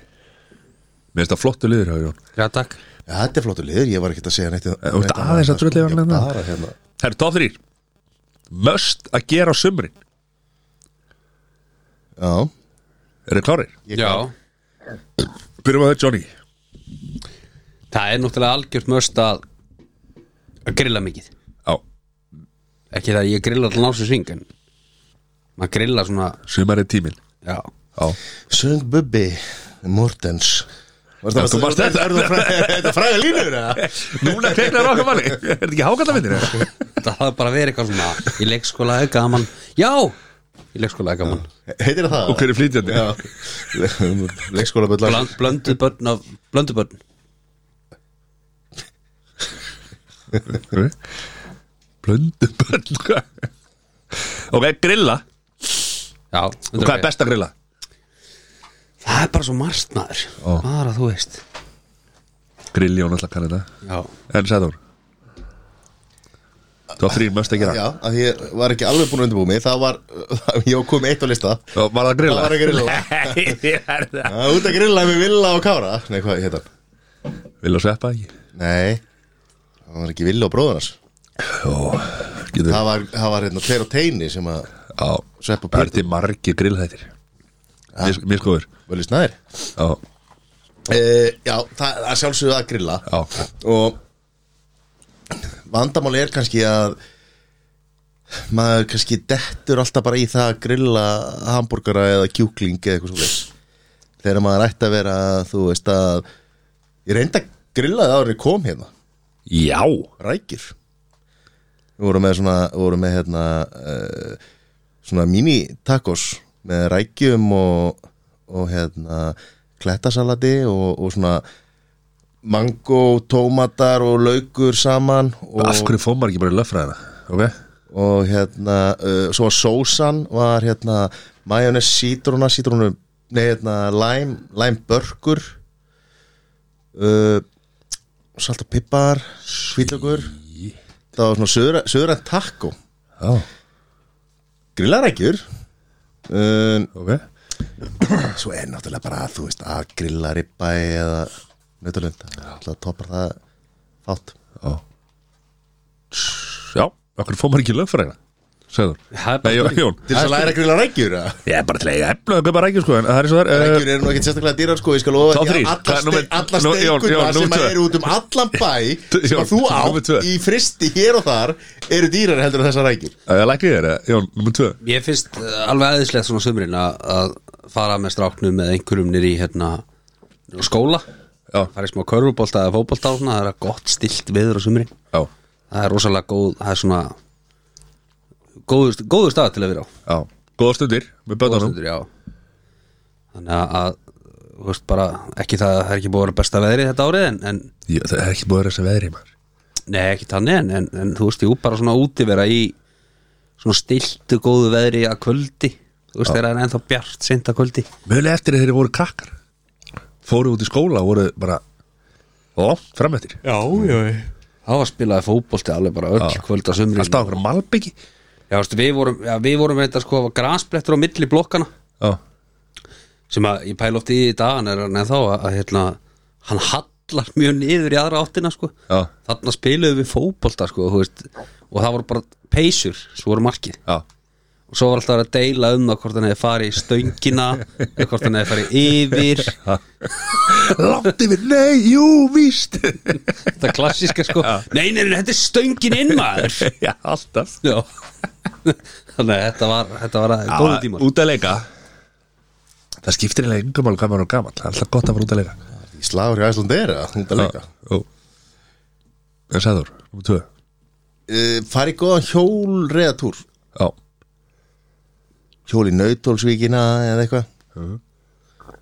Mér finnst það flottu liður hjá Jón já takk ja, þetta er flottu liður, ég var ekkert að segja neitt um sko. þú ert aðeins að drulla yfir hann hérna. bara hérna Það eru top 3 Möst að gera á sumrin já, Er þið klárir? Ég já Byrjum að þau Johnny það er náttúrulega algjört möst að að grilla mikið Já ekki það að ég grilla allan ásins ring en maður grilla svona Sumar er tíminn já, Já söng Bubbi Mortens Varst Já, þú varst þetta. Er það fræ- er þetta <laughs> fræga línur? eða? <laughs> Núna kveiknar okkar <laughs> manni Er þetta ekki hákallafindir? það hafði bara verið eitthvað svona í leikskóla er gaman, já í leikskóla er gaman, Heitir það? Og hver er flytjandi? Já, leikskóla byrla Blönd, blöndu börn af blöndu börn, Blöndu börn hvað? Ok, grilla já Og hvað er best að grilla? það er bara svo margt maður, Ó. bara þú veist Grill Jón alltaf kann þetta já, En Sæður Top 3 möst að gera Já, að því ég var ekki alveg búin að undirbúið mig Það var, <laughs> ég kom með eitt á lista Og var það að grilla? Það var að grilla. <laughs> Nei, það er það Það var út að grilla með Villa og Kára Nei, hvað hétt hann? Vil að sveppa ekki? Nei, það var ekki Villa og bróðunars Jó, getur Það var, það var hérna Tver og Teini sem að Já, Sveppa það Pétur. er til margir grillhættir Mis- Miskóður Völu Snæðir Já, e, Já, það það er sjálfsögðu að grilla já, Og vandamáli er kannski að maður kannski dettur alltaf bara í það að grilla hambúrgara eða kjúkling eða eitthvað svoleiðis þegar maður ætti að vera þú veist að ég reyndi að grilla það árið ég kom hérna já rækir við vorum með svona við vorum með hérna uh, svona mini tacos með rækjum og, og hérna klettasalati og, og svona mango, tómatar og laukur saman og, Af hverju fór maður ekki bara löffræðina? Ok, og hérna uh, svo var sósan var hérna majónes sítruna, sítrunu nei hérna lime, lime börkur uh, salt og pippar svítlökur það var svona söðrænt taco Já, grillarækjur um, ok svo er náttúrulega bara þú veist að grilla ribba eða nautalunda alltaf topar það fátt Já, okkur fór maður ekki lögfræðina Sæður Það er bara Nei, Jón, spurning. Jón til þess að læra að grilla rækjur eða? Ég er bara til að eiga eflu Það er bara ekki sko En það er svo þar eh, rækjur eru nú ekkert sérstaklega dýrar sko ég skal lofa Top því þrír. að Það er alla, númer- ste alla nú- Jón, steikuna Jón, númer sem tvö. eru út um allan bæ sem <laughs> Jón, að þú númer átt tvö. í fristi hér og þar eru dýrar heldur en þessar rækjur Það er læknir þér, eh, Jón, nummer 2 Ég finnst eh, alveg aðeinslegt svona sömurinn að, að fara með stráknum með einhverjum nýri hérna skóla Já. fara í smá körfubólta eða fótbolta og svona það er gott stilt veður á sömurinn Já, það er rosalega góð, það er svona góður, góður stað til að vera á já Góða stundir Með Góðar bötunum stundir, já þannig að þú veist bara, ekki það, það er ekki búið að vera besta veðrið þetta árið en, en Ég- Það er ekki búið að vera þessi veðri maður Nei, ekki þannig en, en, en þú veist, jú, bara svona útivera í svona stiltu góðu veðri að kvöldi, þú veist, þegar það er ennþá bjart seint að kvöldi, Mjöli eftir að þeir voru krakkar Fóru út í skóla og voru bara Ó, fram eftir þá var spilaði fótbolti alveg bara öll kvöld að sumri Alltaf okkur malbyggi Já, veist, við vorum, já, við vorum reynda sko að gransblettur á milli blokkana Já, sem að ég pæla oft í í dag en er hann ennþá að, að hérna, hann hallar mjög niður í aðra áttina sko já, þarna spiluðum við fótbolta sko, þú veist, og það voru bara peysur, svo voru markið já og svo var alltaf að deila um það hvort hann hefði farið í stöngina eða hvort hann hefði farið yfir Látt yfir, nei, jú, víst þetta klassíska sko nei, nei, nei, þetta er stöngin inn maður Já, alltaf já þannig að þetta var, þetta var að góðu tíma Út að leika Það skiptir eiginlega yngum alveg hvað maður er gamall Það er alltaf gott að fara út að leika í slagur í Æslandi er það hún er að leika Ó. En sæður, nummer tvö uh, fari góðan hjól reðatúr Já, hjól í nautólsvíkina eða eitthvað þegar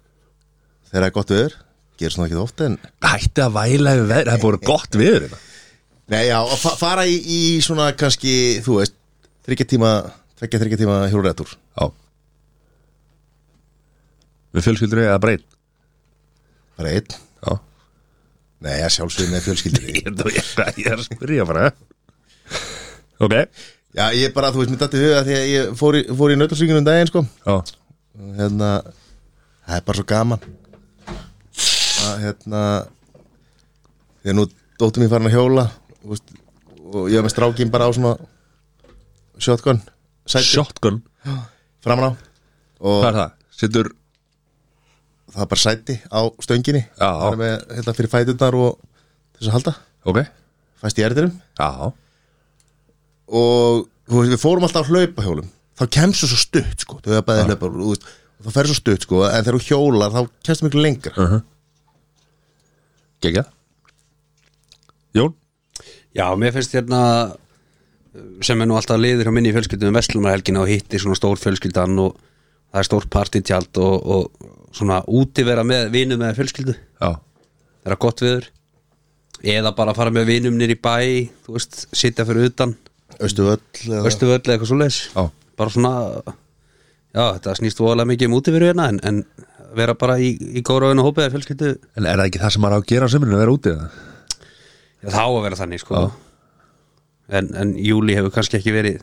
það er gott viður gerir svona ekki ofta en hætti að væla yfir veður Það er búin gott viður hérna Nei, já, að fa fara í, í svona kannski, þú veist, þryggja tíma, tveggja þryggja tíma hjólræðatúr. Já Við fjölskyldur eða bara einn Bara einn. Já Nei, að sjálfsögum með fjölskyldinni. Ég er nú- ég- ég er að spyrja bara Ok já, ég bara, þú veist, mér dætti huga því að ég fór í, fór í nautalsvíkinu um daginn, sko. Já, Og Hérna, það er bara svo gaman. Að, hérna, þegar nú dóttum mér farin að hjóla, þú veist, og ég var með strákinn bara á svona shotgun, sæti, shotgun framan á. Og Hvað er það? Sittur það er bara sæti á stönginni Já. Það er með, hérna, fyrir fæturnar og til þess að halda Ok fæst í erðinum Já og þú veist, við fórum alltaf á hlaupahjólum þá kemst þú svo stutt sko þau er bæðið hlaupa og þú veist, og þá fer svo stutt sko en þegar þú hjólar þá kemst þú miklu lengra uh -huh. Gekja Jón já, mér finnst hérna sem er nú alltaf liður hjá minni í fjölskyldum Vestlumar og hitti svona stór fjölskyldan og það er stór partítjald og, og svona útivera með vinum eða fjölskyldu Já þeirra gott viður eða bara fara með vinum nýr í bæ þú veist, sitja fyrir utan austu öll eða... veistu völd eða eitthvað svo leis Já. bara svona já, þetta snýst voðalega mikið um útiveru hérna en, en vera bara í, í góra og hópið eða fjölskyldu, En er það ekki það sem maður á að gera á sömurinn að vera úti eða? já, þá að vera þannig sko. en, en júli hefur kannski ekki verið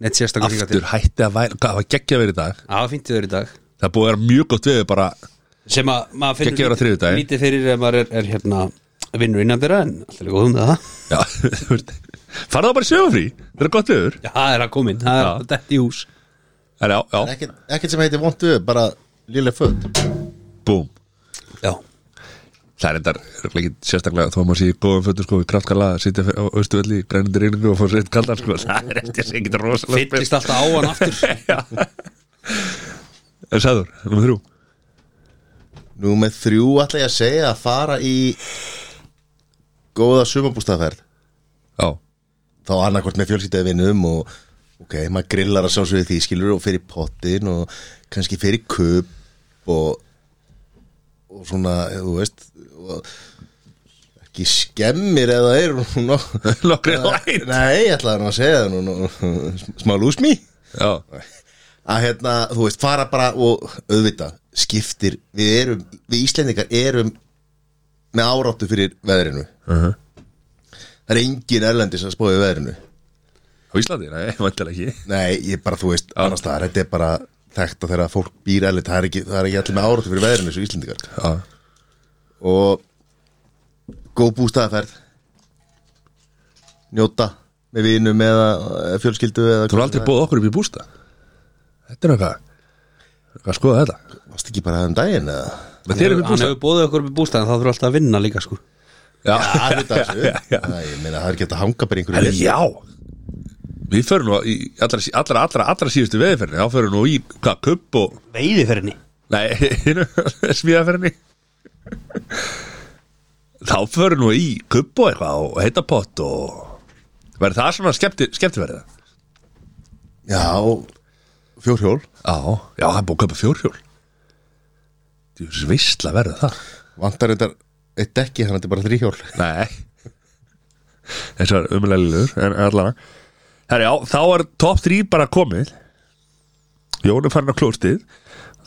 neitt sérstakar hingað Aftur hætti að væla Hvað var geggja verið í dag? til að fínt viður í dag Það er búið að vera mjög gott við bara sem að maður Gekkið finnur vera á þriðjudaginn. lítið fyrir ef maður er, er hérna vinnur innan þeirra en alltaf er góðum það Já <laughs> þú veist. Farðu það bara í sjöfafrí Það er gott viður já, það er að komin, það Já. er þetta í hús En já, já ekkert, ekkert sem heitir vondu bara lille föld Búm já, Það er endar ekki sérstaklega þó að maður sé í góðum fötum sko við kraftkalla að sitja á austu velli í grænandi reyningu og fá sér eitt kaldan sko það er eftir sem getur rosalega fyllist alltaf á hann aftur <laughs> En sæður, nummer þrjú nú með þrjú ætla ég að segja að fara í góða sumabústaðferð Já, þá annarkvort með fjölskyldaði vinum og ok, maður grillar að sjálfsögðu því skilur og fyrir pottin og kannski fyrir köp og og svona, þú veist og ekki skemmir eða er nú, nokkri læt <laughs> nei, ég ætlaði nú að segja það nú, nú, smá lúsmi Já, að hérna, þú veist, fara bara og auðvita, skiptir við erum, við Íslendingar erum með áráttu fyrir veðrinu Mhm. það Það er engin erlendi sem spóði veðrinu Á Íslandi, nei, <laughs> vantilega ekki Nei, ég bara, þú veist, annars það Þetta er bara þekkt að þegar fólk býr erlend Það er ekki, það er ekki allir með áratu fyrir veðrinu Svo Íslendingar Já, Og góð bústaðaferð Njóta Með vinum eða eh, fjölskyldu eða þú er aldrei búið okkur upp í bústa Þetta er eitthvað Hvað skoða þetta? Varst ekki bara um daginn eða? Men þér eru upp í Hann bústa hefur bóðið okkur upp í bústæðan þá þurfa alltaf að vinna líka sko Já, þetta er þessu <laughs> já, já. Nei, ég meina, það er ekki hægt að hanga bara í einhverju Herri, veðri. já Við förum nú í allra, allra, allra, allra síðustu veðiferni Þá förum nú í, hvað, kupp og Veiðiferðinni Nei, <laughs> hinu, smíðaferðinni Þá förum nú í kupp og eitthvað Og heita pott og Verður það svona skemmti, skemmtiverða? Já, fjórhjól Já, já, hann er búið að kaupa fjórhjól Þú veist veistla verður það Vantar þetta eitt dekki, þannig að þetta er bara þrýhjól Nei Þessi var umlega lillur En allan Herri, já, þá er top 3 bara komið Jón er farin á klóstið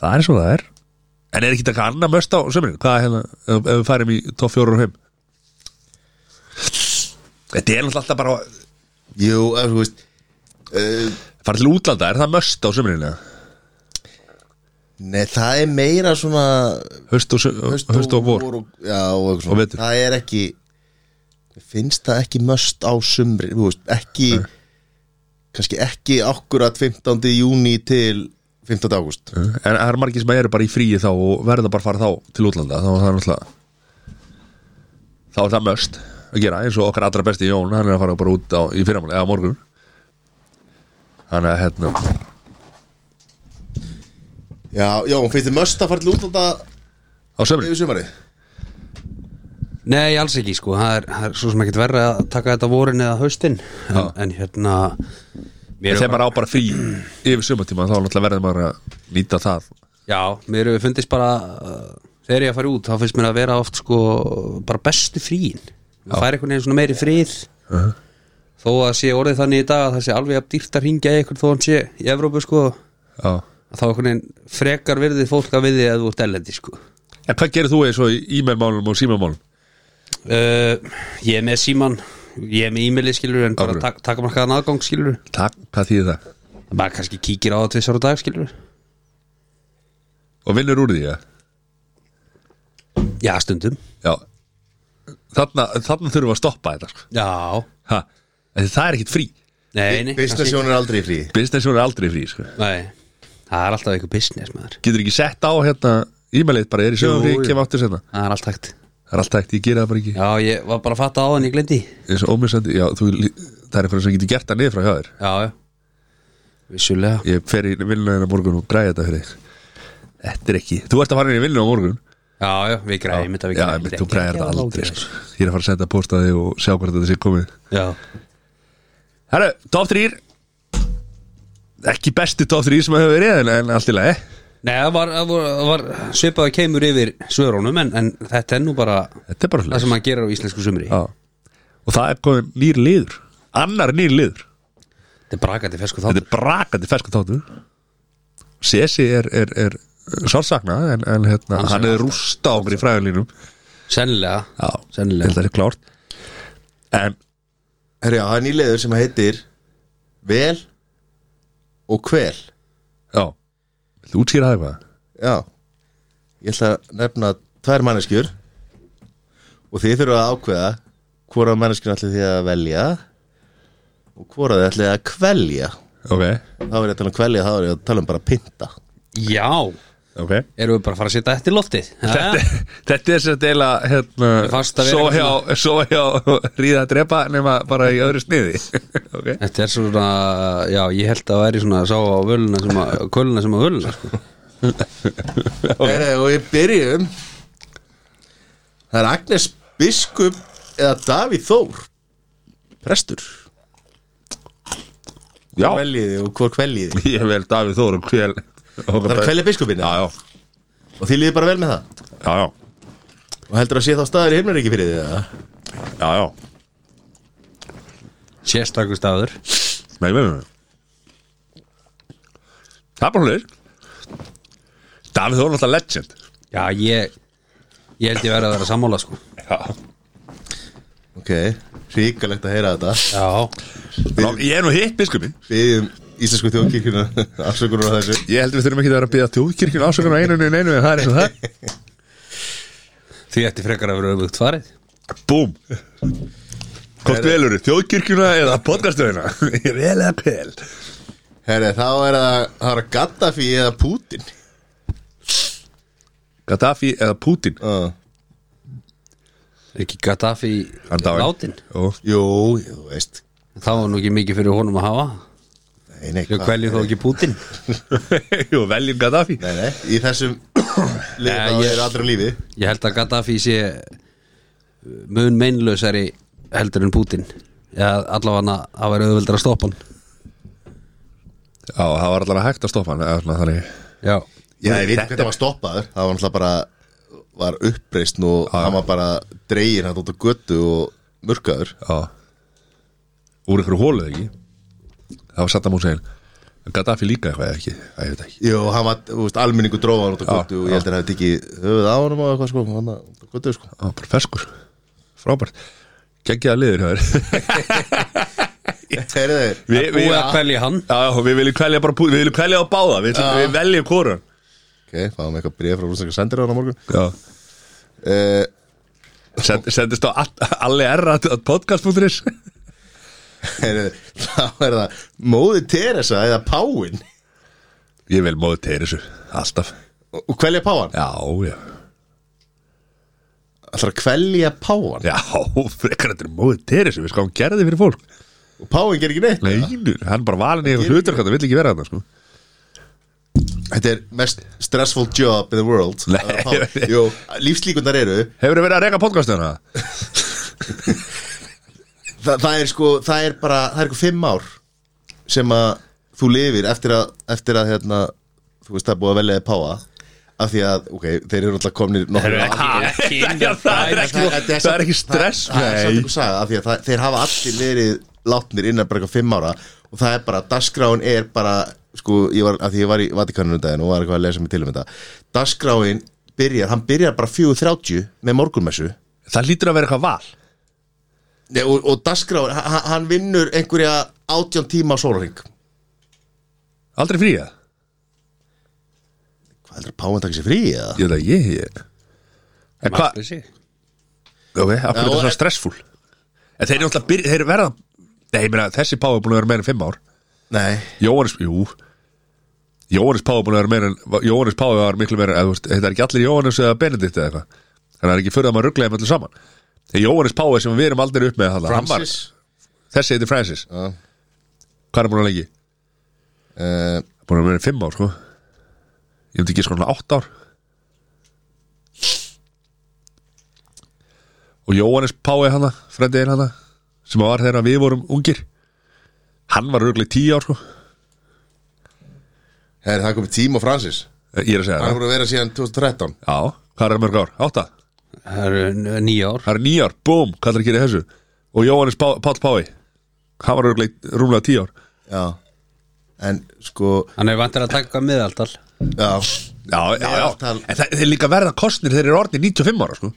Það er svo það er En er ekki þetta annað möst á sömurinn? Hvað er hérna, ef, ef við færum í top 4 og 5? Þetta er náttúrulega alltaf bara að Jú, ef þú veist uh, Fara til útlanda, er það möst á sömurinn? Nei, það er meira svona Höst og, sö- haust og vor og, Já, og eitthvað Og svona vetur. Það er ekki mér Finnst það ekki möst á sumri Þú veist, ekki kannski ekki akkurat 15. júni til 15. ágúst En það er margir sem eru bara í fríi þá og verða bara að fara þá til útlanda þá er það náttúrulega þá er það möst að gera eins og okkar allra besti Jón hann er að fara bara út á, í fyrramáli eða á morgun þannig að hérna á Já, já, hún finnst þið möst að fara til útlanda sömri yfir sumarið Nei, alls ekki sko, það er, það er svo sem ekkert verra að taka þetta vorin eða haustin en, Já. en hérna mér þegar hefur maður á bara frí yfir sömartíma þá náttúrulega verður maður að nýta það Já, mér hefur fundist bara uh, þegar ég að fara út, þá finnst mér að vera oft sko, bara bestu fríin það fær einhvern veginn svona meiri frið þó að sé orðið þannig í dag að það sé alveg að dýrt að ringja eitthvað þó hann sé í Evrópu sko, já. að þá einhvern veginn frekar virðið fólk að við þið að þú ert ellendi sko en hvað gerir þú eins og í e-mailmálum og símamálum uh, Ég er með síman ég er með e-maili skilur en bara Af hverju? tak takmarkaðan aðgang skilur takk, hvað þýðir það maður kannski kíkir á það tvisar á dag skilur og vinnur úr því ja? Já, stundum já þarna, þarna þurfum við að stoppa þetta sko. Já, Ha, en það er ekkit frí nei, nei, Fyrsta kannski- sjón er aldrei í frí business er aldrei frí sko. nei. Það er alltaf eitthvað business maður getur ekki sett á hérna e-mailið bara er í sögum Jú, frí, jú. kem áttur senna Það er allt hægt það er allt hægt, ég gera það bara ekki Já, ég var bara að fatta á hann, ég glendi eins og ómissandi, já, þú, það er eitthvað sem getur gert það niður frá hjá þér Já, já Vissulega ég fer í vinnuna hérna á morgun og græði þetta fyrir þig þetta er ekki, þú ert að fara inn í vinnuna á morgun Já, já, við græðum þetta við já, græjum menn, þetta. þú græðir Ekki þetta að aldrei láta sko. ég er að fara að senda postaði og sjá hvort þetta sé komið Já, herru, top 3 ekki besti top 3 sem hefur verið en- en allt í lagi nei, það var, það var, það var svipað að kemur yfir svörunum en, en þetta er nú bara þetta er bara það hlust sem maður gerir á íslensku sumri og það er komið nýr liður annar nýr liður Þetta er brakandi fesku þetta þáttur er brakandi fersku þáttur Sesi er, er, er sársakna en, en hérna, Hans er hann er alltaf- rústa okkur í fræðunlínum Sennilega Já, Sennilega. Þetta er klárt En Herri, já, það er nýleður sem heitir Vel og hvel já, viltu útskýra það eitthvað? Já Ég ætla að nefna tvær manneskjur Og þið þurfa að ákveða Hvora manneskjur ætli þið að velja Og hvora þið ætli að kvelja Ok, Þá er ég að tala um kvelja, þá er ég að tala um bara pynta Já, ok erum við bara að fara að setja þetta í loftið Þetta, þetta er sem deila hérna, Mér fannst að vera svo, eitthvað hjá, svo hjá <laughs> ríða að drepa nema bara í öðru sniði <laughs> okay. Þetta er svona, já, ég held að það væri svona að sá á völuna sem að, köluna sem að völuna sko. Herri, og ég byrjum Það er Agnes Biskup Eða Davíð Þór Prestur Já, Hvor veljið þið og hvor kveljið þið ég vel Davíð Þór og kvel Það er að kvelja biskupinu Já, já, Og þið líður bara vel með það já, já, Og heldur að sé þá staðar í himnaríki fyrir þið eða? já, já. Sérstakur staður Nei, nei, nei, nei Það er bara hlutir Davíð Þór er náttúrulega legend Já, ég, ég held ég verið að vera sammála sko. Já Ok, ríkalegt að heyra þetta Já, Rá- Ég er nú hitt biskupin Við íslensku þjóðkirkjuna <laughs> afsökunar á þessu Ég heldur við þurfum ekki að vera að bíða þjóðkirkjun ásökun á einu en einu en það er eins og það því ætti frekar að vera öfugt farið Búm Hvort velur þjóðkirkjuna eða podcastöðina <laughs> Ég er vel eða pel Herri, þá er það, það er Gaddafi eða Putin Gaddafi eða Putin uh. Er ekki Gaddafi Hann dáinn. látin Jú. Jú, þú veist Það var nú ekki mikið fyrir honum að hafa Nei, nei, Ah. Ég hvað- kveljum þó ekki Putin <laughs> Jú, veljum Gaddafi Nei, nei, í <coughs> þessum liði Nei, þá ég- er allra lífi Ég held að Gaddafi sé uh, mun meinlausari heldur en Putin Já, allavega að vera auðveldur að stoppa hann Já, það var allavega hægt að stoppa hann eða svona þannig Já, Ég Nei, veit þetta- hvernig það var stoppaður Það var náttúrulega bara var uppreist og hann var bara dregin hann út á götu og mörkaður Já Úr einhverju hóluð ekki Það var Saddam Hussein Gaddafi líka eitthvað eða ekki Það ég veit ekki Jú, hann var, þú veist, almenningu dróða hann út á Já, götu og ég held að hann hefði ekki höfuð á honum og eitthvað sko, hann var út á götu sko Það var bara ferskur Frábært Gengið að liður hjá þér <laughs> Heyrðu þeir, Vi, búið að kvelja hann Já, já, við viljum kvelja bara Pú- Við viljum kvelja á báða Við, ætlum- við veljum hvoran ok, fáum eitthvað bréf frá rúsneska sendir á hann á morgun Já uh, Send, Sendist á all, allir erra podcast.is Heyrðu þeir, <laughs> þá er það Móði Teresa eða Páin Ég vil móðu tegir þessu Alltaf og og kvelja Páan Já, já Það að kvelja Páan Já, frekar þetta er móðu tegir þessu Við skáum gera þið fyrir fólk og Páin ger ekki neitt Leinur, hann er bara valin í eitthvað hlutur Þetta vill ekki vera þarna, sko Þetta er mest stressful job in the world Nei. að vera páfinn. Jú, lífslíkundar eru Hefur þið verið að reyka podcastuna? Þa, það er sko, það er bara, það er eitthvað fimm ár sem að þú lifir eftir að, eftir að hérna, þú veist það er búið að velja þið páa af því að, ok, þeir eru alltaf komnir nokkur Ekki, það er ekki, það er ekki stress það, það er samt nei. ykkur saga af því að það, þeir hafa allir verið látnir innan bara eitthvað fimm ára og það er bara, dagskráin er bara sko, ég var, að því ég var í Vatikanunum daginn og var eitthvað að lesa mig til um þetta dagskráin byrjar, hann byrjar bara 4.30 með morgunmessu Það lítur að vera eitthvað val Nei, og, og dagskráin, hann, hann vinnur einhverja 18 tíma á sólarring Aldrei frí að hvað heldur að Páin takk sér frí eða? Ég veit að ég ég En hvað, Markvissi. ok, af hverju er þetta og- svona stressfúl? En þeir eru alltaf byrja, þeir eru verða Nei, ég meina, þessi pá er búin að vera meira en fimm ár Nei, Jóhannes, jú Jóhannes pá er búin að vera meira en Jóhannes pá var miklu meira, eða, þú veist, þetta er ekki allir Jóhannes eða Benedikt eða eitthvað Þannig að það er ekki fyrir að maður rugglega með allir saman Þegar Jóhannes pá sem við erum aldrei upp með þarna, hann var, Francis Þessi heiti Francis Já. Hvað er búin að lengi? uh, Búin að vera í fimm ár sko Ég myndi ekki sko, svona átt ár Og Jóhannes Pái hana Frendiðin hana Sem var þegar við vorum ungir Hann var örglega tíu ár sko herri, það komið tíma og Francis Eh, Ég er að segja hann er það búin að vera síðan 2013 Já, hvað er það mörg ár? Átta Það eru n- níu ár Það er níu ár, búm, hvað er að gera í þessu Og Jóhannes Pá- Páll Pái Hann var örglega rúmlega tíu ár já, en sko Hann er vantur að taka miðaldal já, Já, já, já, Meðaltal. en það, þeir líka verða kostnir þeir eru orðni 95 ára sko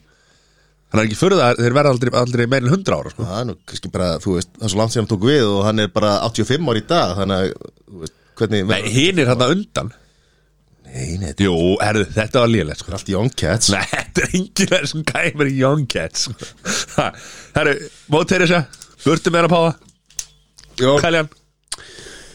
Þannig er ekki fyrir það, þeir verða aldrei, aldrei meira en 100 ára sko Það er nú kannski bara, þú veist, það er svo langt sem hann tók við og hann er bara 85 ár í dag, þannig að, þú veist, hvernig... Nei, hinn er hann undan nei, nei, þetta Jú, herðu, þetta var lélegt sko er allt Young Cats. Nei, þetta er enginn þær sem kæmur í Young Cats sko. Ha, Herru, mót þeir þessu Burtu meira páa, Jó, kæljan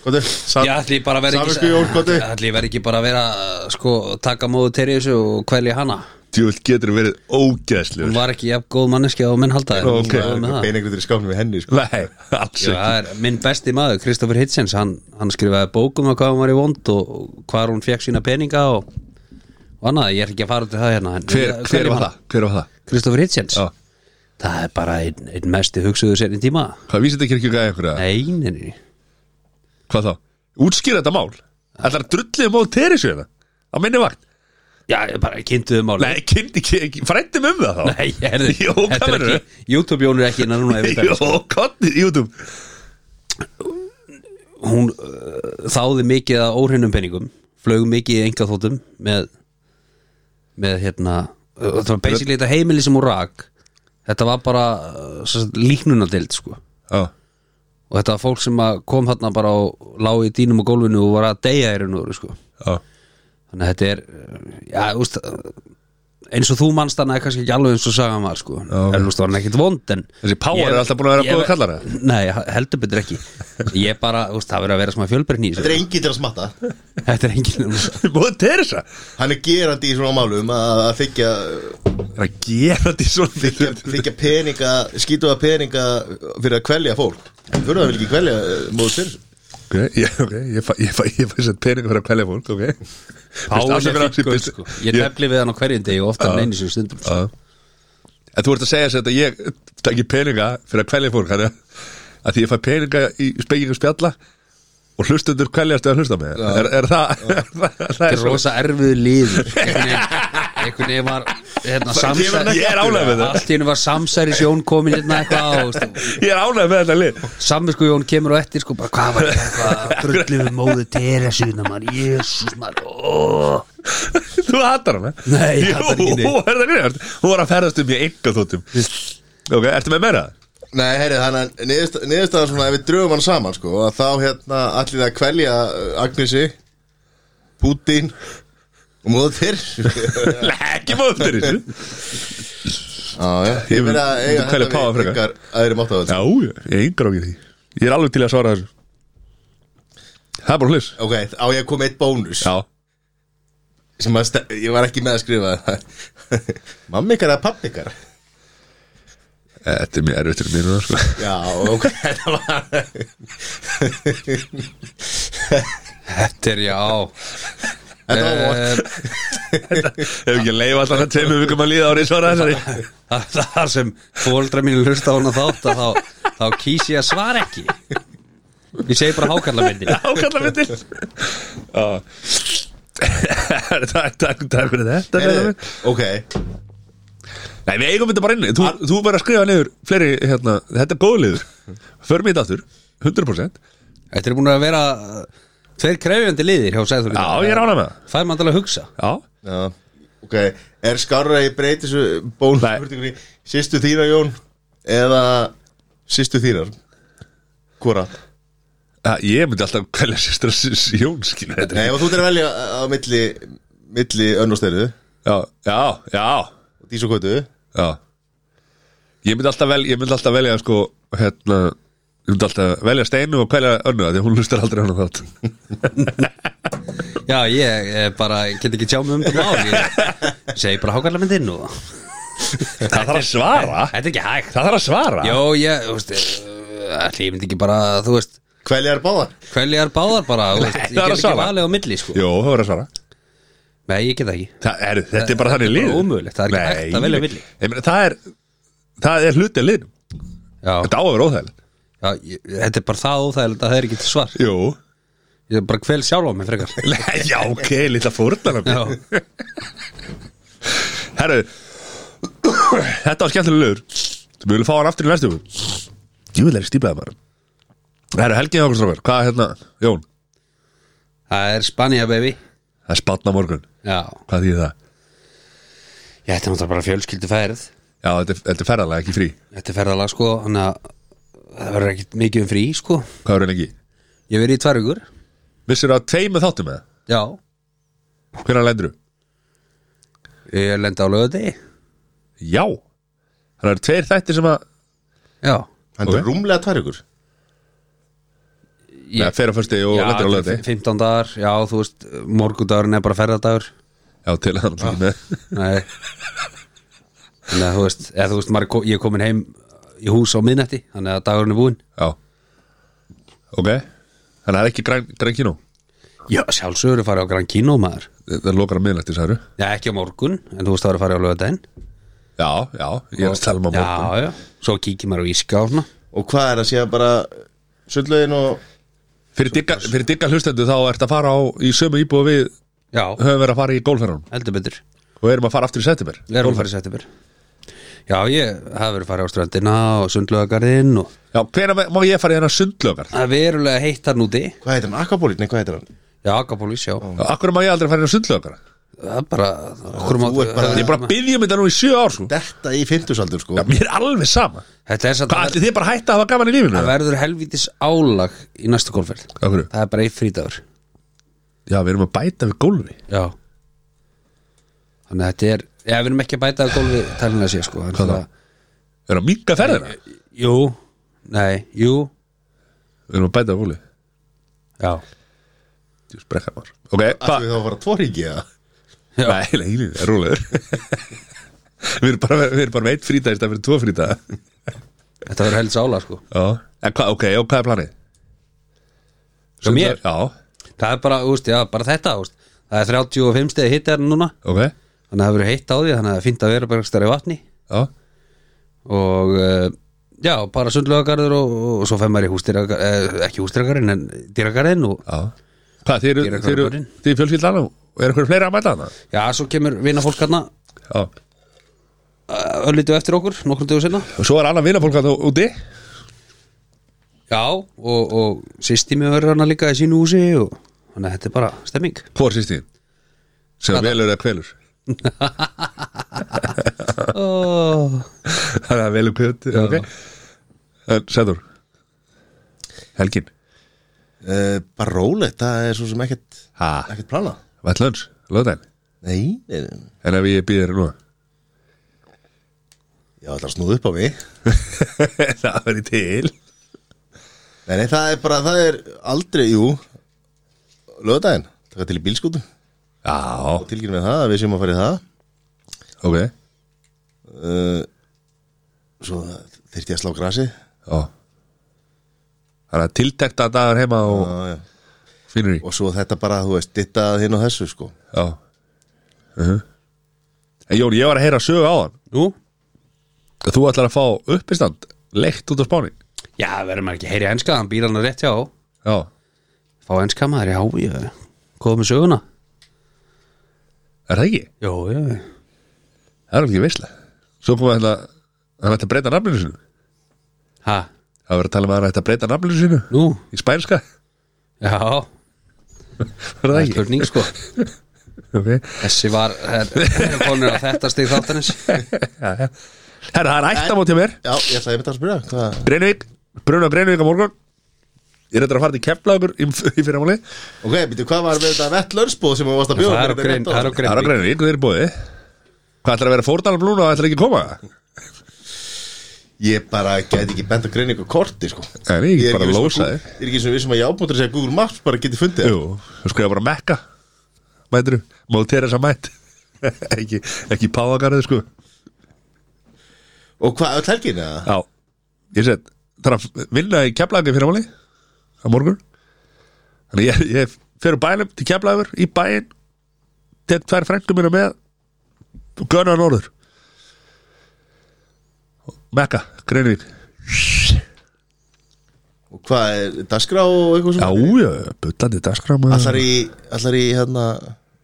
hvað er, sam, Ég ætli bara að vera Samvisku Jón, hvað ekki þið? Ég ætli ég verð ekki bara að vera sko, taka móðu Terjesu og kvelja hana Djúvill getur verið Hún ógeðslegur var ekki jafn góð manneski og menn halda þér Ó, Hún ok. var það er með eitthvað það. beinengriður í skáfnum við henni, sko. Nei, alls Já, ekki það er minn besti maður, Kristoffer Hitzens hann, hann skrifaði bókum að hvað hún var í vond og og hvar hún fekk sína peninga og, og annað, ég er ekki að fara út í það hérna en- Hver, Hvernig hver var hann? það? Hver var það? Kristoffer Hitzens Já. Það er bara einn ein mesti hugsuðu sér í tíma Hvað vísið þetta kirkjuga einhverja? Nei, nei, nei Hvað þá? Útskýra þetta mál Ætlar að drullið mót þeir þessu hérna? Á minni vakt Já, ég bara kynntuðu máli Nei, kynnti, frættum um það þá Nei, herri, Jó, þetta hvað er verður ekki YouTube Jón er ekki innan <laughs> núna yfir þetta. Jó, kontið, YouTube Hún uh, þáði mikið að óhreinum peningum flög mikið í enga þóttum með, með hérna uh, það var basically þetta heimili sem hún rak þetta var bara uh, sem sagt, líknunadeild sko Já, og þetta var fólk sem að kom þarna bara og lág í dýnum á gólfinu og var að deyja í raun og veru sko já, þannig að þetta er uh, já, úst, eins og þú manst hann er kannski ekki alveg eins og sagan var sko Já. en úst, var hann ekkit vond en Þessi power Ég- er alltaf búin að vera ég- góður <laughs> kallar, eða? Nei, heldur betur ekki Ég bara, úst, það verður að vera smá fjölbreytni í þessu. Þetta er engin til að smatta Þetta er engin búið Teresa Hann er gerandi í svona málum að að þykja Er að gera þetta í svona þykja, þykja peninga, skýtuða peninga fyrir að kvelja fólk Þú verður að vil ekki kvelja eh, móður fyrir Ok, ég, ok, ég fæ, ég fæ, ég fæ sett pening fyrir að kvelja fólk, ok Páin Páin er fyrir gull sko Ég ég, tefli við hann á hverjum degi og oftar en einu sem stundum sko. Já. En þú ert að segja þess að ég takki peninga fyrir að kvelja fólk Þannig að- að því ég fæ peninga í spekingu spjalla Og hlustundur kveljast eða hlusta með er, <laughs> er það, það Þetta er er svo rosa erfið líður Einhvern veginn- einhvern veginn var hérna, kemur hann samsæri ekki Ég er aftur, ánægður með það. Allt í hennu var samsæri sjón komin hérna eitthvað Ég er ánægð með þetta lið <laughs> Samvisku Jón kemur á eftir sko bara hvað var þetta Drullið við móðu Teresuna mann Jésús mann ó. Þú hattar hana? Nei, ég hata hana ekki Jú, er það greinast? Hún var að ferðast um í enga þóttum Ok, ertu með meira? Nei, heyrðu, þannig að niðurst- niðurstaðan svona ef við dröfum hann saman sko að þá hérna allir það að kvelja uh, Agnesi Putin og móður fyrir Nei, ekki móður fyrir þessu Já, já, ég verið að Þú eiga kvelja páfa frekar. ykkar aðri mátt á þetta Já, ég er yngra ákveð því Ég er alveg til að svara þessu Það er bara hlis Ok, á ég að koma eitt bónus Já, sem að ste- ég var ekki með að skrifa það. <laughs> Mamma ykkar eða pappa ykkar þetta er mjög erfitt fyrir mér núna, sko. Já, ok, <laughs> þetta var Þetta er já Þetta var vont. Eh, Ef ekki að leifa alltaf hann tveimur vikum að líða árið svara þessari það- þar sem fóldra mínu hlusta á hana þátt að þá, þá kýs ég að svara ekki ég segi bara hákalla myndin Ákalla myndir Já Ah. <laughs> Takk, takk, takk fyrir þetta Heyrðu, Nei, Ok, við eigum þetta bara inni Þú, þú verður að skrifa niður fleiri, hérna, þetta er góðliður Förum í þetta aftur, 100% þetta er búin að vera uh, tveir krefjandi liðir hjá Sæður Já, ég er ánað með það fær maður alveg að hugsa Já, já Ok, er skárra að ég breyti þessu Nei. bónus Sýstu þína Jón eða sýstu þínar Hvora? að, ég myndi alltaf kvelja sýstra Jón skilur þetta Nei, er- ef þú ert að velja á milli milli önnusteyru Já, já, já, og dísokötu já Ég myndi alltaf velja, ég myndi alltaf velja sko, hérna Ég myndi alltaf velja steinu og kvelja önnu af Því að hún hlustar aldrei hann á þátt já, ég, ég bara ég get ekki tjá mig um þetta mál ég segi bara hákalla myndin og Það þarf að svara þetta er ekki hægt Það þarf að svara já, ég, þú veist uh, ætli ég myndi ekki bara, þú veist Kveljar báðar kveljar báðar bara, þú veist, það er ég get að ekki svara. valið á milli sko. Jó, það verður að svara nei, ég get það ekki Það er, þetta er bara þannig lið bara ómögulegt, það er ekki hægt að velja milli. milli Það er, það er hluti að lið já, Þetta á að vera óþægilegt já, ég, þetta er bara það og það það er ekki til svar Jú <laughs> Ég er bara kvel sjálf á mig frekar Já, ok, lítið að fórna Já, Herru Þetta var skemmtilega lögur Við viljum fá hann aftur í næstu viku. Djúvilegri stíplaði bara Herru, helgið okkur strókar Hvað er hérna, Jón? það er Spania baby Það er spanna morgun Já, Hvað þýðir það? ég ætti náttúrulega bara fjölskyldu færið Já, þetta er, þetta er ferðalega, ekki frí Þetta er ferðalag sko Þannig að það verður ekkit mikið um frí sko Hvað er hann ekki? Ég hef verið í tvær ykkur Vissir það tveimu þáttum með það? Já, Hvernig lendur þú? ég lendi á lögadegi Já Það eru tveir þættir sem að Já, Hann Ok. er rúmlega tvær ykkur Nei, fer á föstu og já lendur á löði 15 dagar, já þú veist Morgundagurinn er bara ferðadagur Já, til að hann ekki með Nei Þannig að þú veist, eða, þú veist maður, er ko- ég er komin heim í hús á miðnætti Þannig að dagurinn er búinn Já Ok Þannig að það er ekki græn, græn kínó Já, sjálfsögur er farið á Gran Kino maður Það lokar að miðlætti, sagður Já, ekki á morgun, en þú veist það er að fara á lögadaginn Já, já, ég er að tala um að morgun Já, já, svo kíkir maður á íska og svona Og hvað er að sé bara sundlaugin og Fyrir digga, fyrir digga hlustendu þá ert að fara á í sömu íbúi við Já, höfum verið að fara í gólferðan heldur betur og erum að fara aftur í september Við erum að fara í september Já, ég hafi verið að fara á ströndina og sundlögarinn og Já, hvenær má ég fara í hennar sundlögar? það er verulega heitt þar núti hvað heitir hann? Akapólit? Nei, hvað heitir hann? Já, Akapólis, já Akkur má ég aldrei fara í hennar sundlögar? það er bara okkur má Þú ert bara- Ég er bara að byggja um þetta nú í sjö ár sko. Detta í fimmtusaldur sko Já, Mér er alveg sama Þetta er satt Hvað ætli þið bara að hætta að hafa gaman í lífinu? Það verður helvítis álag í næstu golfferð Af hverju? Það er bara eitt frítagur Já, við erum að bæta við gólfi Já Þannig að þetta er Já, við erum ekki að bæta að golfi talinlega sér sko en Hvað það- Við erum að minka ferðina Jú, nei, jú Við erum að bæta við gólfi Já, Djú, sprekka maður Ok, Ætlum hvað? við þá að fara tvo ringi eða? Nei, nei, nei, það er rúlegur <laughs> Við erum bara, við erum bara með eitt frítag í stað fyrir tvo frítag þetta verður helvítis álag sko Já En hvað, ok, og hvað er planið? Hjá mér? Já, Það er bara, úst, já, bara þetta úst. Það er 35 stegi hitt er hérna núna ok Já, Þannig að það verður heitt á því Þannig að það er fínt að vera bara stærri vatni Og uh, já, bara sundlögagarður og, og, og svo fær maður í hústýragarð eh, Ekki hústýragarðin, en dýragarðin og, já Hvað, þið eru, Ég er að þið eru, fara inn. þið eru fjölskyldan og er eitthvað fleira að mæta hana? Já, svo kemur vinafólk hérna Já Öllítu eftir okkur, nokkrum dögur sinna Og svo er annað vinafólk að þú úti Já, og, og sýsti mér verður hana líka í sínu húsi og, Þannig að þetta er bara stemming Hvor sýst þín? Sem Hvað velur eða kvelur <laughs> oh. Það er að velur kvelur, ok En Sæður Helgin Eh, Bara rólegt, það er svo sem ekkert Hæ? Ekkert plana Vatnlöns, löðdæn Nei, nei, nei En ef ég býðir nú Já, það er að snúða upp á mig <laughs> Það verið til Nei, nei, það er bara, það er aldrei, jú Löðdæðin, taka til í bílskútu Já, og tilkynna við það, að við séum að fara í það ok uh, Svo þyrfti ég að slá grasi Já Það er að tiltekta dagar heima og Já, já. finnur í Og svo þetta bara, þú veist, dittað hinn og þessu, sko Já uh En Jón, ég var að heyra sögu á hann Nú? Þú ætlar að fá uppistand Leikt út á spáni Já, verður maður ekki að heyri enska, hann býr hann rétt hjá Já Fá enska maður, já, ég Góð með söguna Er það ekki? Jó, já, já Það er ekki veistlega Svo kom hann að Hann ætti að breyta nafninu sinu Ha, Það var að tala um að hann ætti að breyta nafninu sinu nú, Í spænska já Það Er það er ekki? spurning sko Okay. Þessi var, konur á þetta stig þáttanins Herra, það er ættamót hjá mér Já, ég ætlaði einmitt að spyrja hvað Greinvík Bruna og Greinvík á morgun Ég er þetta að fara til keflagur í, í fyrramáli Ok, býttu, hvað var með þetta vettlörsbóð sem þú varst að bjóða Það er á mér þetta grein, rétt það er á Það er á grein Greinvík og þeir eru bóði Hvað ætlar að vera fórdalan blúna og ætlar ekki að koma? Ég bara gæti ekki bent á grein ykkur korti, sko Nei, ég get bara viss um að lósa Gú- þig. Ég er ekki sem við sem að ég ábúndur að segja Google Maps bara geti fundið það. Jú, þú sko ég bara mekka Mætur, móð Teresa mætt <laughs> Ekki, ekki páagarðu sko Og hvað, öll helgin eða? Já, ég set þarf að vinna í keflagur í fyrramáli á morgun Þannig ég, ég fer úr bænum til keflagur í bæinn tek tvær frænkum mínu með og gönna norður Mekka, Greinvík Og hvað er dagskrá og eitthvað Já, svona? já, bullandi dagskram Mm. Allar í, allar í hérna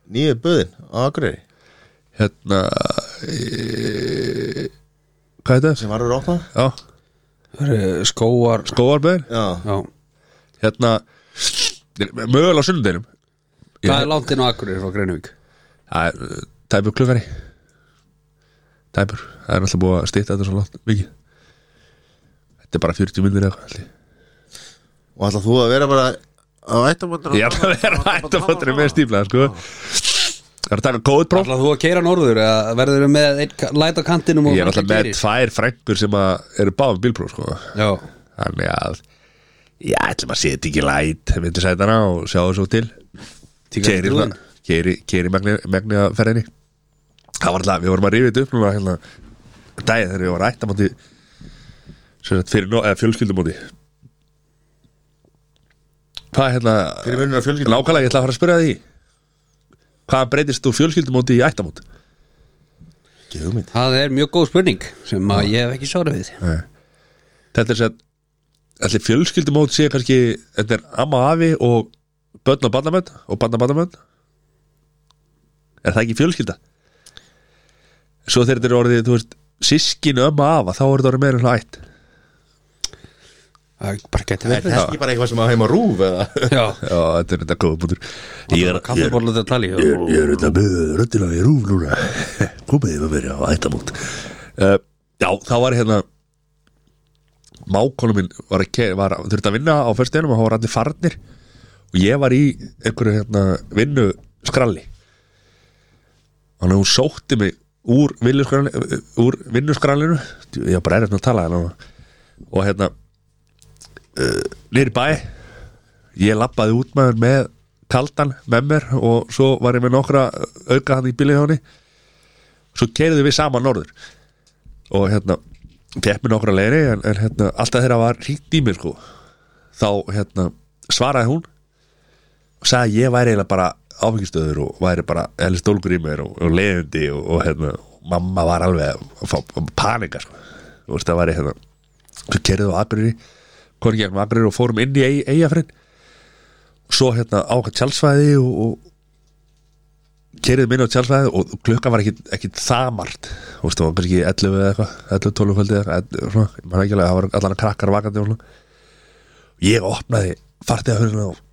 nýju böðin á Akureyri Hérna e... Hvað er þetta? sem varur á það Já, Eh, Skóar góðarbæðin Já, Já, Hérna, mögulega á sunnudeginum Ég- hvað er langt inn á Akureyri frá Greinvík? Það er uh, tæpur klukkari Tæpur, það er alltaf búið að stýta þetta svo langt mikið Þetta er bara 40 myndir eða hvað held ég. og allar þú að vera bara á ættamöndur Ég er að vera ættafóttri með stíflaða sko Það er að taka góð próf Ætlaðu þú að keira norður eða verður þú með einn ka- læt á kantinum og Ég er alltaf með gerir? tvær frængur sem að eru báðum bílpróf sko Já, Þannig að Ég ætlum að setja ekki læt myndi sætana og sjá þessu til Tíka Keiri, trúin. keiri, keiri megni, megni að ferðinni Það var alltaf, við vorum að rífið þetta upp núna hérna, daginn þegar við vorum rætt að móti sem sagt fyrir, nó- eða fjölskyldumóti Hvað hérna Fyrir munur á fjölskyldum. Nákvæmlega, ég ætla að fara að spyrja því Hvað breytist þú fjölskyldumóti í ættamót? Ekki hugmynd það er mjög góð spurning sem að ég hef ekki svarað við Þetta er sem Allir fjölskyldumót sé kannski Þetta er amma og afi og börn og barnamönd og barn og barnamönd Er það ekki fjölskylda? Svo þegar þetta er orðið, þú veist Sískinu ömmu og afa, þá er þetta orðið meira en hlætt það bara geti Er verið það ekki bara eitthvað sem að heima rúf eða? já, Já, þetta er þetta góða bútur Ég er, ég er, kaffibólu þetta tali ég er, ég er þetta með röddina í rúf núna <laughs> Komið yfir verið á ættamót uh, Já, þá var hérna Mákonum minn var, að ke- var þurfti að vinna á föstunum og hann var allir farnir og ég var í einhverju hérna vinnu skralli Þannig að hún sótti mig úr, villuskralli- eh, úr vinnuskrallinu Ég var bara erfitt með að tala hérna og hérna uh, nýri bæ ég labbaði út maður með kaldan með mér og svo var ég með nokkra auka hann í bílihjóni svo keiriði við saman norður og hérna fekk mér nokkra leiri en, en hérna alltaf þeirra var hringt í mér sko þá hérna svaraði hún og sagði að ég væri eiginlega bara áfengistöður og væri bara helst ólgur í mér og, og leiðindi og, og hérna mamma var alveg að fá að panika sko. og veist það væri hérna svo kerðið á Akureyri konum gegnum Akureyri og fórum inn í Eyjafrinn og svo hérna ákvæmt tjálsvæði og, og kerðið minni á tjálsvæði og klukka var ekkit, ekkit það margt og veist það var kannski 11 eða eitthvað 11, 12 kvöldi eða eitthvað svona, ég man ekki alveg, það var allan að krakkar vakandi og svona ég opnaði fartið að hörna og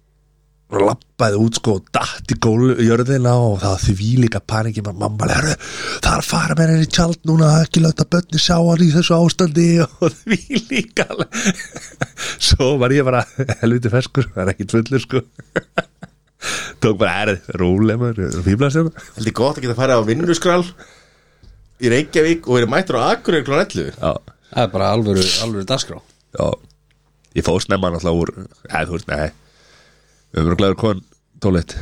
lappaði út sko og datt í gólujörðina og það því líka paniki maður mamma lærðu, það er að fara með henni í tjald núna, það er ekki láta bönni sjá hann í þessu ástandi <laughs> og því líka svo var ég bara helviti feskur, það er ekki tvöldur sko tók bara erð, rólega maður, fýblast hérna Heldur gott að geta að fara á vinnuskrall í Reykjavík og verið mættur á Akureyri kl. 11 já, það er bara alvöru, alvöru dagskrá já, ég fóð snemma náttúrulega úr, eða þú veist, nei við erum glæður kon tólit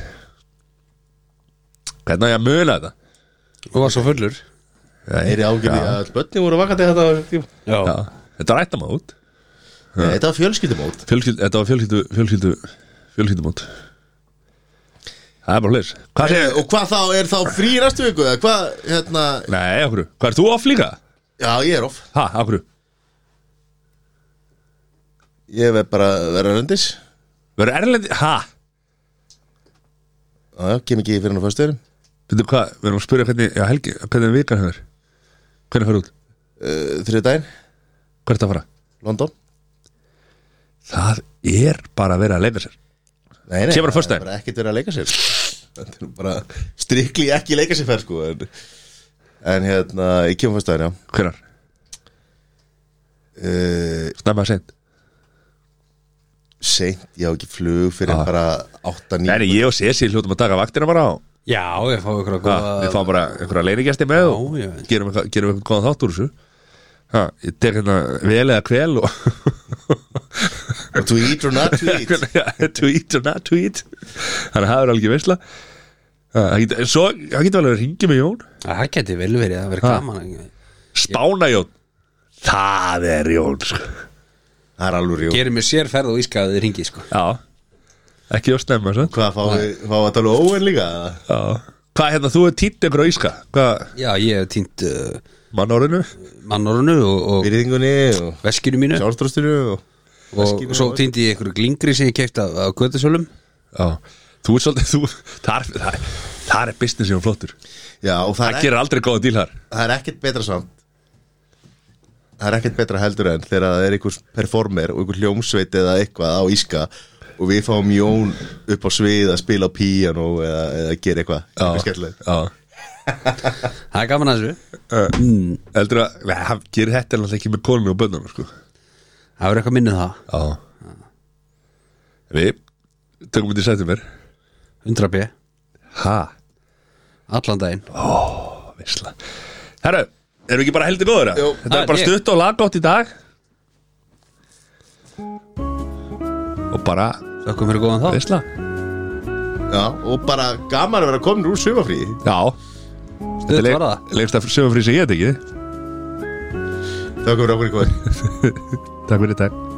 hvernig á ég að muna þetta? þú var svo fullur Nei, Er ég ágjörði já. að öll börnin voru vakandi þetta á þessum tíma? Já, þetta var ættamót Nei, Þetta var fjölskyldumót Fjölskyld, Þetta var fjölskyldu, fjölskyldu, fjölskyldumót Það er bara hlis Hvað segir Eh, Og hvað þá, er þá frí í næstu viku? eða Hvað, hérna, Nei, okkur, hvað er þú off líka? já ég er off Ha, okkur, Ég verð bara að vera röndis verður erlendi Ha, Já, já, kem ekki fyrir hann á föstuðurum veitum hvað, við erum að spyrja hvernig Já, Helgi, hvernig er vikan hennar? Hvernig fyrir út? uh, Þriðu daginn, Hvert að fara? London Það er bara að vera að leika sér Nei, nei, Kemur á það föstudaginn? er bara ekkert verið að leika sér Þetta er nú bara strikli ekki leika sér fær sko En, en hérna, ég kemur föstudaginn, já Hvernar? uh, Snemma að seint Seint, ég á ekki flug fyrir Ah. bara 8-9 Nei, nei, ég og Cecil hljótum að taka vaktina bara á já, ég fá ykkur að Ha, Við fáum bara einhverja leinigjasti með og Já, ég veit. gerum eitthvað gerum eitthvað góðan þátt úr þessu ha, Ég tek hérna vel eða kvel <laughs> og To eat or <laughs> not to eat to eat or not to eat þannig að það er alveg veistla það getur svo- það getur vel að ringi með Jón það geti vel verið, það verið Ha. gaman spána Jón það er Jón sko. Það er alveg rjú gerir mér sér ferð og ískaðið ringi sko. já, ekki að snemma svo. Hvað, fá, fá að tala um óen líka? Já. hvað er hérna, þú er týtt ykkur á Íska hvað, já, ég hef týnt uh, mannorinu mannorunu og, og Virðingunni og veskinu mínu sjálfströstinu og og veskinu svo og- týndi ég einhverju glingri sem ég keipt á, á Götasölum já, þú er svolítið þú, þar, þar, þar er business Jón flottur Já, og það það er, gerir aldrei góða díl þar það er ekkert betra samt Það er ekkert betra heldur en þegar það er einhvers performer og einhver hljómsveit eða eitthvað á íska og við fáum Jón upp á svið að spila á píano eða, eða gera eitthvað, eitthvað skemmtilegt já það er gaman að þessu Mm. Eldur að, nei, hann gerir þetta alltaf ekki með konunni og bönnunum sko. það verður eitthvað minnið það, Já Við tökum þetta í sættum mér 100 b Ha, allan daginn, visla Herra, erum við ekki bara heldur góður? eða? Jú. Ah, Þetta Það er bara er ég. stutt og laggótt í dag Og bara þakkum fyrir góðan þá visla Já, og bara gaman að vera komin úr sumafrí Já, stuð var það lengst að sögum frí sem ég hef tekið Þá komur okkur í kvöld Takk fyrir þetta